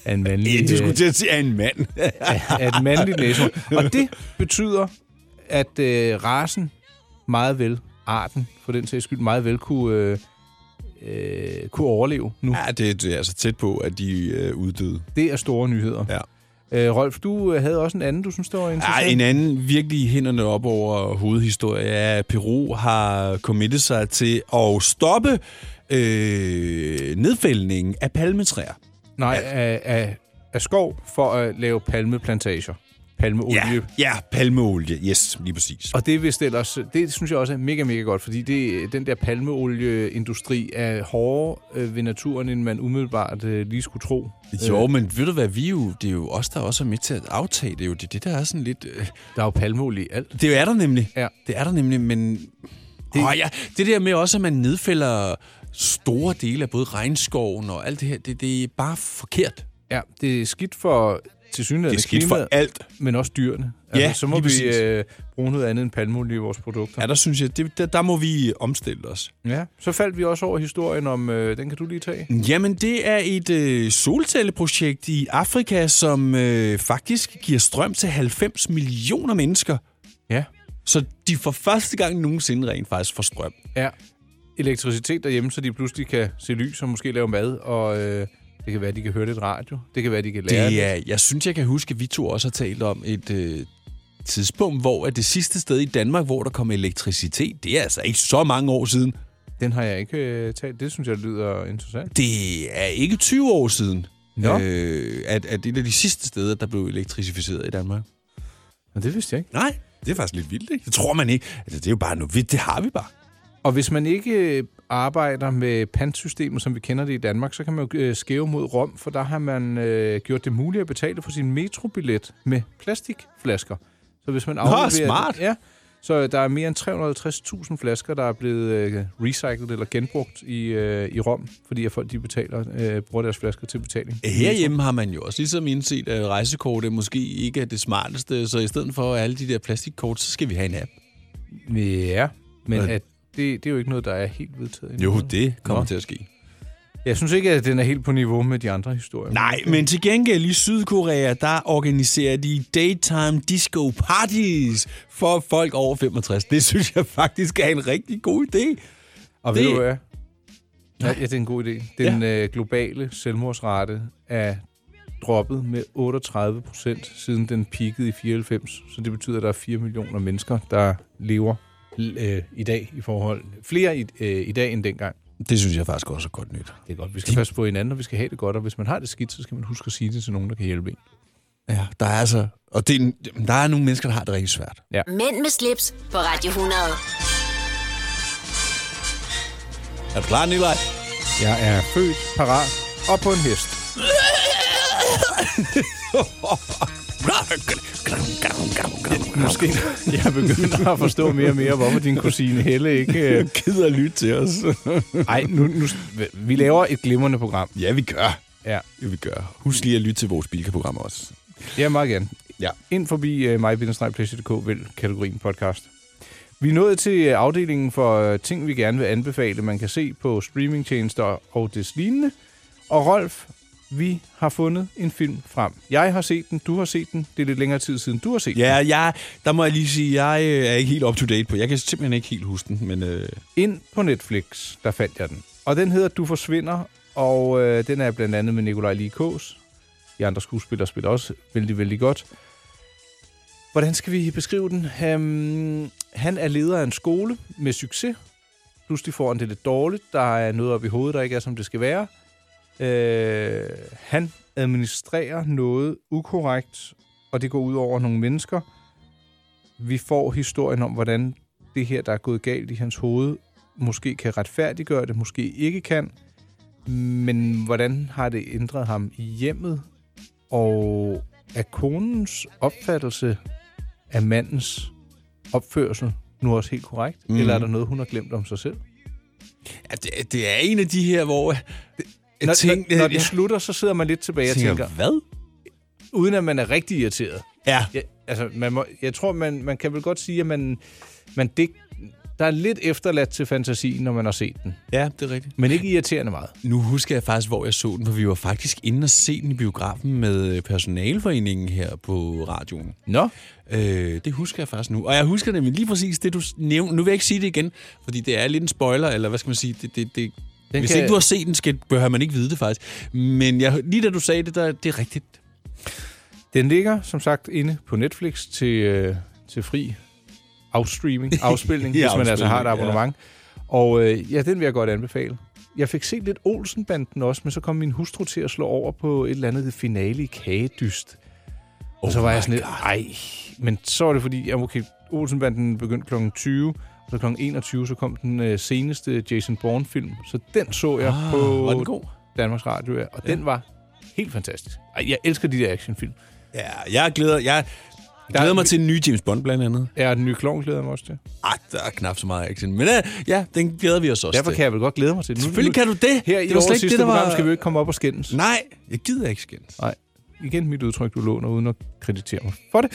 S2: af en mandlig...
S4: ja du
S2: øh,
S4: skulle til at sige, at en mand.
S2: af et mandligt næsehorn. Og det betyder, at øh, rasen meget vel, arten for den sags skyld, meget vel kunne, øh, øh, kunne overleve nu.
S4: ja, det, det er altså tæt på, at de er øh, uddøde.
S2: Det er store nyheder.
S4: Ja.
S2: Øh, Rolf, du øh, havde også en anden, du synes, der var
S4: Ej,
S2: interessant.
S4: en anden virkelig hænderne op over hovedhistorie er, at Peru har committet sig til at stoppe øh, nedfældningen af palmetræer.
S2: Nej, af, af, af skov for at lave palmeplantager. Palmeolie.
S4: Ja, ja, palmeolie. Yes, lige præcis.
S2: Og det, er vist ellers, det synes jeg også er mega, mega godt, fordi det, den der palmeolieindustri er hårdere øh, ved naturen, end man umiddelbart øh, lige skulle tro.
S4: Jo, men ved du hvad, vi er jo, det er jo os, der også er med til at aftage det. er jo det, det der er sådan lidt... Øh,
S2: Der er jo palmeolie i alt.
S4: det er der nemlig.
S2: Ja.
S4: Det er der nemlig, men... Det, oh, ja, det der med også, at man nedfælder store dele af både regnskoven og alt det her, det, det er bare forkert.
S2: Ja, det er skidt for tilsyneladende klimaet,
S4: alt.
S2: men også dyrene. Altså,
S4: Ja,
S2: så må
S4: lige
S2: vi
S4: præcis.
S2: øh, bruge noget andet end palmeolie i vores produkter.
S4: Ja, der synes jeg, det, der, der må vi omstille os.
S2: Ja. Så faldt vi også over historien om, øh, den kan du lige tage.
S4: Jamen, det er et øh, solcelleprojekt i Afrika, som øh, faktisk giver strøm til 90 millioner mennesker.
S2: Ja.
S4: Så de for første gang nogensinde rent faktisk får strøm.
S2: er elektricitet derhjemme, så de pludselig kan se lys og måske lave mad, og øh, det kan være, de kan høre lidt radio, det kan være, de kan lære
S4: Det er, jeg synes, jeg kan huske, at vi to også har talt om et øh, tidspunkt, hvor at det sidste sted i Danmark, hvor der kom elektricitet, det er altså ikke så mange år siden.
S2: Den har jeg ikke øh, talt, det synes jeg lyder interessant.
S4: Det er ikke 20 år siden,
S2: Nå.
S4: øh, at, at det er de sidste steder, der blev elektrificeret i Danmark.
S2: Men det vidste jeg ikke.
S4: Nej, det er faktisk lidt vildt, ikke? Det tror man ikke. Altså, det er jo bare noget vildt. Det har vi bare.
S2: Og hvis man ikke øh, arbejder med pantsystemet, som vi kender det i Danmark, så kan man jo øh, skæve mod Rom, for der har man øh, gjort det muligt at betale for sin metrobillet med plastikflasker. Så hvis man afleverer...
S4: smart.
S2: Ja, så øh, der er mere end 350.000 flasker, der er blevet øh, recyclet eller genbrugt i, øh, i Rom, fordi at folk de betaler, øh, bruger deres flasker til betaling.
S4: Eh, Herhjemme har man jo også ligesom indset, at rejsekortet måske ikke er det smarteste, så i stedet for alle de der plastikkort, så skal vi have en app.
S2: Ja, men
S4: Ja.
S2: at det, det er jo ikke noget, der er helt vedtaget endnu.
S4: Jo, det kommer
S2: Nå.
S4: Nå. til at ske.
S2: Jeg synes ikke, at den er helt på niveau med de andre historier.
S4: Nej, men til gengæld i Sydkorea, der organiserer de daytime disco parties for folk over 65. Det synes jeg faktisk er en rigtig god idé.
S2: Og det... ved
S4: Det-
S2: du hvad? Ja, ja, det er en god idé. Den ja. øh, globale selvmordsrate er droppet med 38 procent, siden den peakede i 94. Så det betyder, at der er 4 millioner mennesker, der lever l- øh, i dag i forhold... Flere i, øh, i dag end dengang.
S4: Det synes jeg faktisk også er godt nyt.
S2: Det er godt. Vi skal passe på hinanden, og vi skal have det godt. Og hvis man har det skidt, så skal man huske at sige det til nogen, der kan hjælpe en.
S4: Ja, der er altså... Og det er, en- der er nogle mennesker, der har det rigtig svært.
S1: Mænd med slips på Radio 100.
S4: Er du klar, Nikolaj?
S2: Jeg er født, parat og på en hest. Måske jeg begynder at forstå mere og mere, hvorfor din kusine Helle ikke... øh,
S4: Gider at lytte til os.
S2: Ej, nu, nu, vi laver et glimrende program.
S4: ja, vi gør.
S2: Ja,
S4: Ja, vi gør. Husk lige at lytte til vores bilkaprogram også.
S2: jeg er meget gerne.
S4: Ja.
S2: Ind forbi uh, mig vælg kategorien podcast. Vi er nået til øh, afdelingen for øh, ting, vi gerne vil anbefale, man kan se på streamingtjenester og des lignende. Og Rolf, vi har fundet en film frem. Jeg har set den, du har set den. Det er lidt længere tid siden, du har set den.
S4: Ja, jeg, der må jeg lige sige, jeg øh, er ikke helt up to date på. Jeg kan simpelthen ikke helt huske den, men... Øh,
S2: Ind på Netflix, der fandt jeg den. Og den hedder Du forsvinder, og øh, den er blandt andet med Nikolaj Likås. De andre skuespillere spiller også vældig, vældig godt. Hvordan skal vi beskrive den? Um, han er leder af en skole med succes. Pludselig får han det lidt dårligt. Der er noget op i hovedet, der ikke er, som det skal være. Øh, han administrerer noget ukorrekt, og det går ud over nogle mennesker. Vi får historien om, hvordan det her, der er gået galt i hans hoved, måske kan retfærdiggøre det, måske ikke kan. Men hvordan har det ændret ham i hjemmet? Og er konens opfattelse af mandens opførsel nu også helt korrekt?
S4: Mhm.
S2: Mm. Eller er der noget, hun har glemt om sig selv?
S4: ja, det, det er en af de her, hvor... øh, Jeg
S2: Når,
S4: tænk-
S2: når, når
S4: øh,
S2: det slutter, så sidder man lidt tilbage og
S4: tænker,
S2: tænker,
S4: hvad?
S2: uden at man er rigtig irriteret.
S4: Ja,
S2: Ja, altså, man må, jeg tror, man, man kan vel godt sige, at man, man dig, der er lidt efterladt til fantasien, når man har set den.
S4: ja, det er rigtigt.
S2: Men ikke irriterende meget.
S4: Nu husker jeg faktisk, hvor jeg så den, for vi var faktisk inde og se den i biografen med øh, personalforeningen her på radioen.
S2: Nå,
S4: Øh, det husker jeg faktisk nu. Og jeg husker nemlig lige præcis det, du nævnte. Nu vil jeg ikke sige det igen, fordi det er lidt en spoiler, eller hvad skal man sige? Det, det, det.
S2: Den
S4: Hvis
S2: kan-
S4: kan... ikke du har set den, skal, behøver man ikke vide det faktisk. Men jeg, lige da du sagde det, der, det er rigtigt.
S2: Den ligger, som sagt, inde på Netflix til, øh, til fri afstreaming, afspilning, ja, hvis man
S4: afspilning,
S2: altså har et
S4: ja.
S2: abonnement. Ja. Og øh, ja, den vil jeg godt anbefale. Jeg fik set lidt Olsenbanden også, men så kom min hustru til at slå over på et eller andet finale i Kagedyst. Og
S4: Oh
S2: så var jeg sådan lidt, ej. Men så var det fordi, ja, okay, Olsenbanden begyndte kl. 20, og så kl. 21, så kom den øh, seneste Jason Bourne-film. Så den så jeg ah, på
S4: var den god?
S2: Danmarks Radio, ja. og ja. den var helt fantastisk. Ej, jeg elsker de der actionfilm.
S4: Ja, jeg glæder, jeg glæder mig til den nye James Bond blandt andet.
S2: Ja, og den nye klovn glæder jeg mig også til.
S4: Ah, der er knap så meget action. Men øh, ja, den glæder vi os også
S2: Derfor
S4: til.
S2: kan jeg vel godt glæde mig til det. Nu-
S4: Selvfølgelig
S2: nu-
S4: kan du det.
S2: Her i
S4: Det var slet
S2: vores
S4: ikke
S2: sidste
S4: det, der var-
S2: program skal vi jo ikke komme op og skændes.
S4: Nej, jeg gider ikke skændes.
S2: Nej. Igen mit udtryk, du låner uden at kreditere mig for det.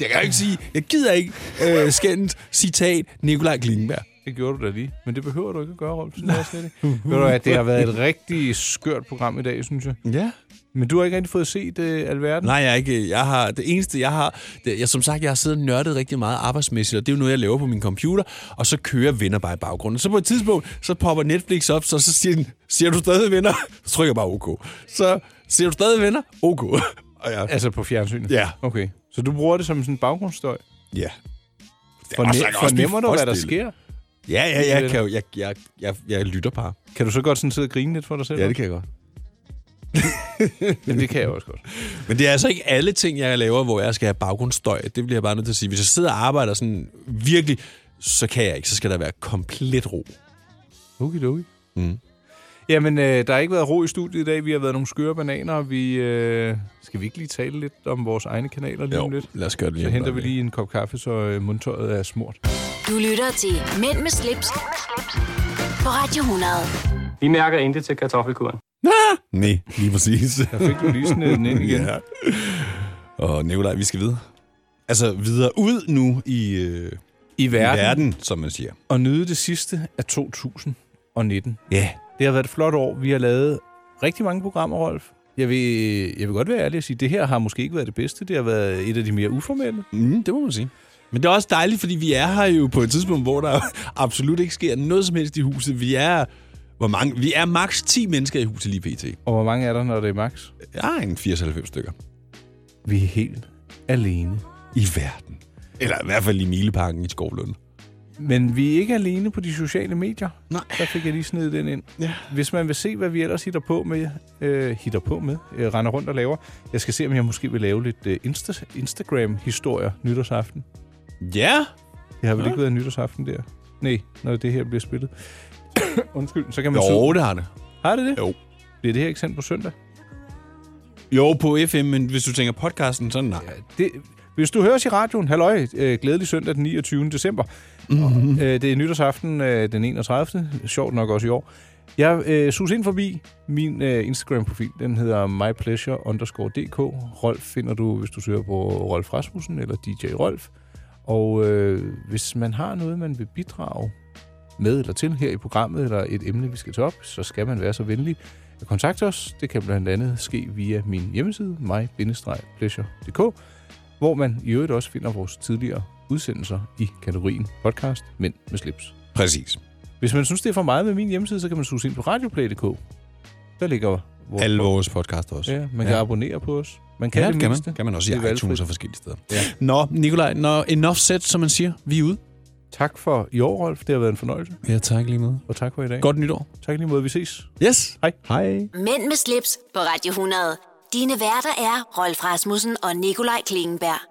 S4: Jeg kan jo ikke sige, jeg gider ikke øh, skændes, citat, Nikolaj Klingenberg.
S2: Det gjorde du da lige. Men det behøver du ikke at gøre, Rolf. Sådan er jeg slet ikke. Ved du at det har været et rigtig skørt program i dag, synes jeg.
S4: Ja.
S2: Men du har ikke rigtig fået set uh, alverden?
S4: Nej, jeg er ikke. Jeg har, det eneste, jeg har... Det, jeg, som sagt, jeg har siddet og nørdet rigtig meget arbejdsmæssigt, og det er jo noget, jeg laver på min computer, og så kører venner bare i baggrunden. Så på et tidspunkt, så popper Netflix op, så, så siger den, ser du stadig venner? Så trykker jeg bare OK. Så ser du stadig venner? OK. Og jeg,
S2: Altså på fjernsynet?
S4: Ja.
S2: Okay. Så du bruger det som sådan en baggrundsstøj?
S4: ja. Det er
S2: Forne-
S4: også- jeg kan også blive
S2: fornemmer du, hvad der
S4: frygtelig.
S2: sker?
S4: Ja, ja, jeg, kan jo, jeg, jeg, jeg, jeg lytter bare.
S2: Kan du så godt sådan sidde og grine lidt for dig selv?
S4: kan jeg godt.
S2: Jamen, det kan jeg også godt.
S4: Men det er altså ikke alle ting, jeg laver, hvor jeg skal have baggrundsstøj. Det bliver jeg bare nødt til at sige. Hvis jeg sidder og arbejder sådan virkelig, så kan jeg ikke. Så skal der være komplet ro.
S2: Okidoki. Mm. Jamen, øh, der har ikke været ro i studiet i dag. Vi har været nogle skøre bananer. og Vi, øh, skal vi ikke lige tale lidt om vores egne kanaler lige om lidt?
S4: lad os gøre det lige.
S2: Så
S4: om
S2: henter
S4: et
S2: vi lige en kop kaffe, så øh, mundtøjet er smurt.
S1: Du lytter til Mænd med slips, på Radio 100.
S12: Vi mærker intet til kartoffelkuren.
S4: øjeblik. Nej, lige præcis.
S2: Der fik du lige sådan den ind igen.
S4: ja. Og Nikolaj, vi skal videre. Altså videre ud nu i, øh,
S2: I
S4: verden.
S2: verden.
S4: verden, som man siger.
S2: Og nyde det sidste af 2019.
S4: Ja,
S2: Det har været et flot år. Vi har lavet rigtig mange programmer, Rolf. Jeg vil, jeg vil godt være ærlig og sige, at det her har måske ikke været det bedste. Det har været et af de mere uformelle.
S4: Mm, det må man sige. Men det er også dejligt, fordi vi er her jo på et tidspunkt, hvor der absolut ikke sker noget som helst i huset. Vi er, hvor mange, vi er maks 10 mennesker i huset lige pt.
S2: Og hvor mange er der, når det er max?
S4: Jeg er en 94 stykker.
S2: Vi er helt alene.
S4: I verden. Eller i hvert fald i Mileparken i Skovlund.
S2: Men vi er ikke alene på de sociale medier.
S4: Nej.
S2: Der fik jeg lige snedet den ind.
S4: Ja.
S2: Hvis man vil se, hvad vi ellers hitter på med, øh, hitter på med øh, render rundt og laver. Jeg skal se, om jeg måske vil lave lidt øh, Insta- Instagram-historier nytårsaften.
S4: Ja,
S2: Det har vel ikke været nytårsaften der? Nej, når det her bliver spillet. Undskyld, så kan man
S4: jo,
S2: søge.
S4: det har det.
S2: Har det det?
S4: Jo.
S2: Bliver det her ikke sendt på søndag?
S4: Jo, på FM, men hvis du tænker podcasten, så nej.
S2: Det, hvis du hører os i radioen, halløj, øh, glædelig søndag den 29. december. Mm-hmm. Og, øh, det er nytårsaften øh, den 31. Sjovt nok også i år. Jeg øh, sus ind forbi min øh, Instagram-profil. Den hedder mypleasure_dk. Rolf finder du, hvis du søger på Rolf Rasmussen eller DJ Rolf. Og øh, hvis man har noget, man vil bidrage med eller til her i programmet, eller et emne, vi skal tage op, så skal man være så venlig at kontakte os. Det kan blandt andet ske via min hjemmeside, my-pleasure.dk, hvor man i øvrigt også finder vores tidligere udsendelser i kategorien podcast Mænd med slips.
S4: Præcis.
S2: Hvis man synes, det er for meget med min hjemmeside, så kan man suge ind på radioplay.dk. Der ligger vores...
S4: Alle vores podcast også.
S2: Ja, man kan ja. abonnere på os. Man kan
S4: Ja,
S2: det,
S4: det kan
S2: mindste.
S4: man. kan man også
S2: Det er
S4: i iTunes
S2: valgfrit.
S4: og forskellige steder. Ja. Nå, Nikolaj, når enough set, som man siger, vi er ude.
S2: Tak for i år, Rolf. Det har været en fornøjelse.
S4: Ja, tak lige med.
S2: Og tak for i dag.
S4: Godt nytår.
S2: Tak lige måde. Vi ses.
S4: Yes.
S2: Hej.
S4: Hej.
S1: Mænd med slips på Radio 100. Dine værter er Rolf Rasmussen og Nikolaj Klingenberg.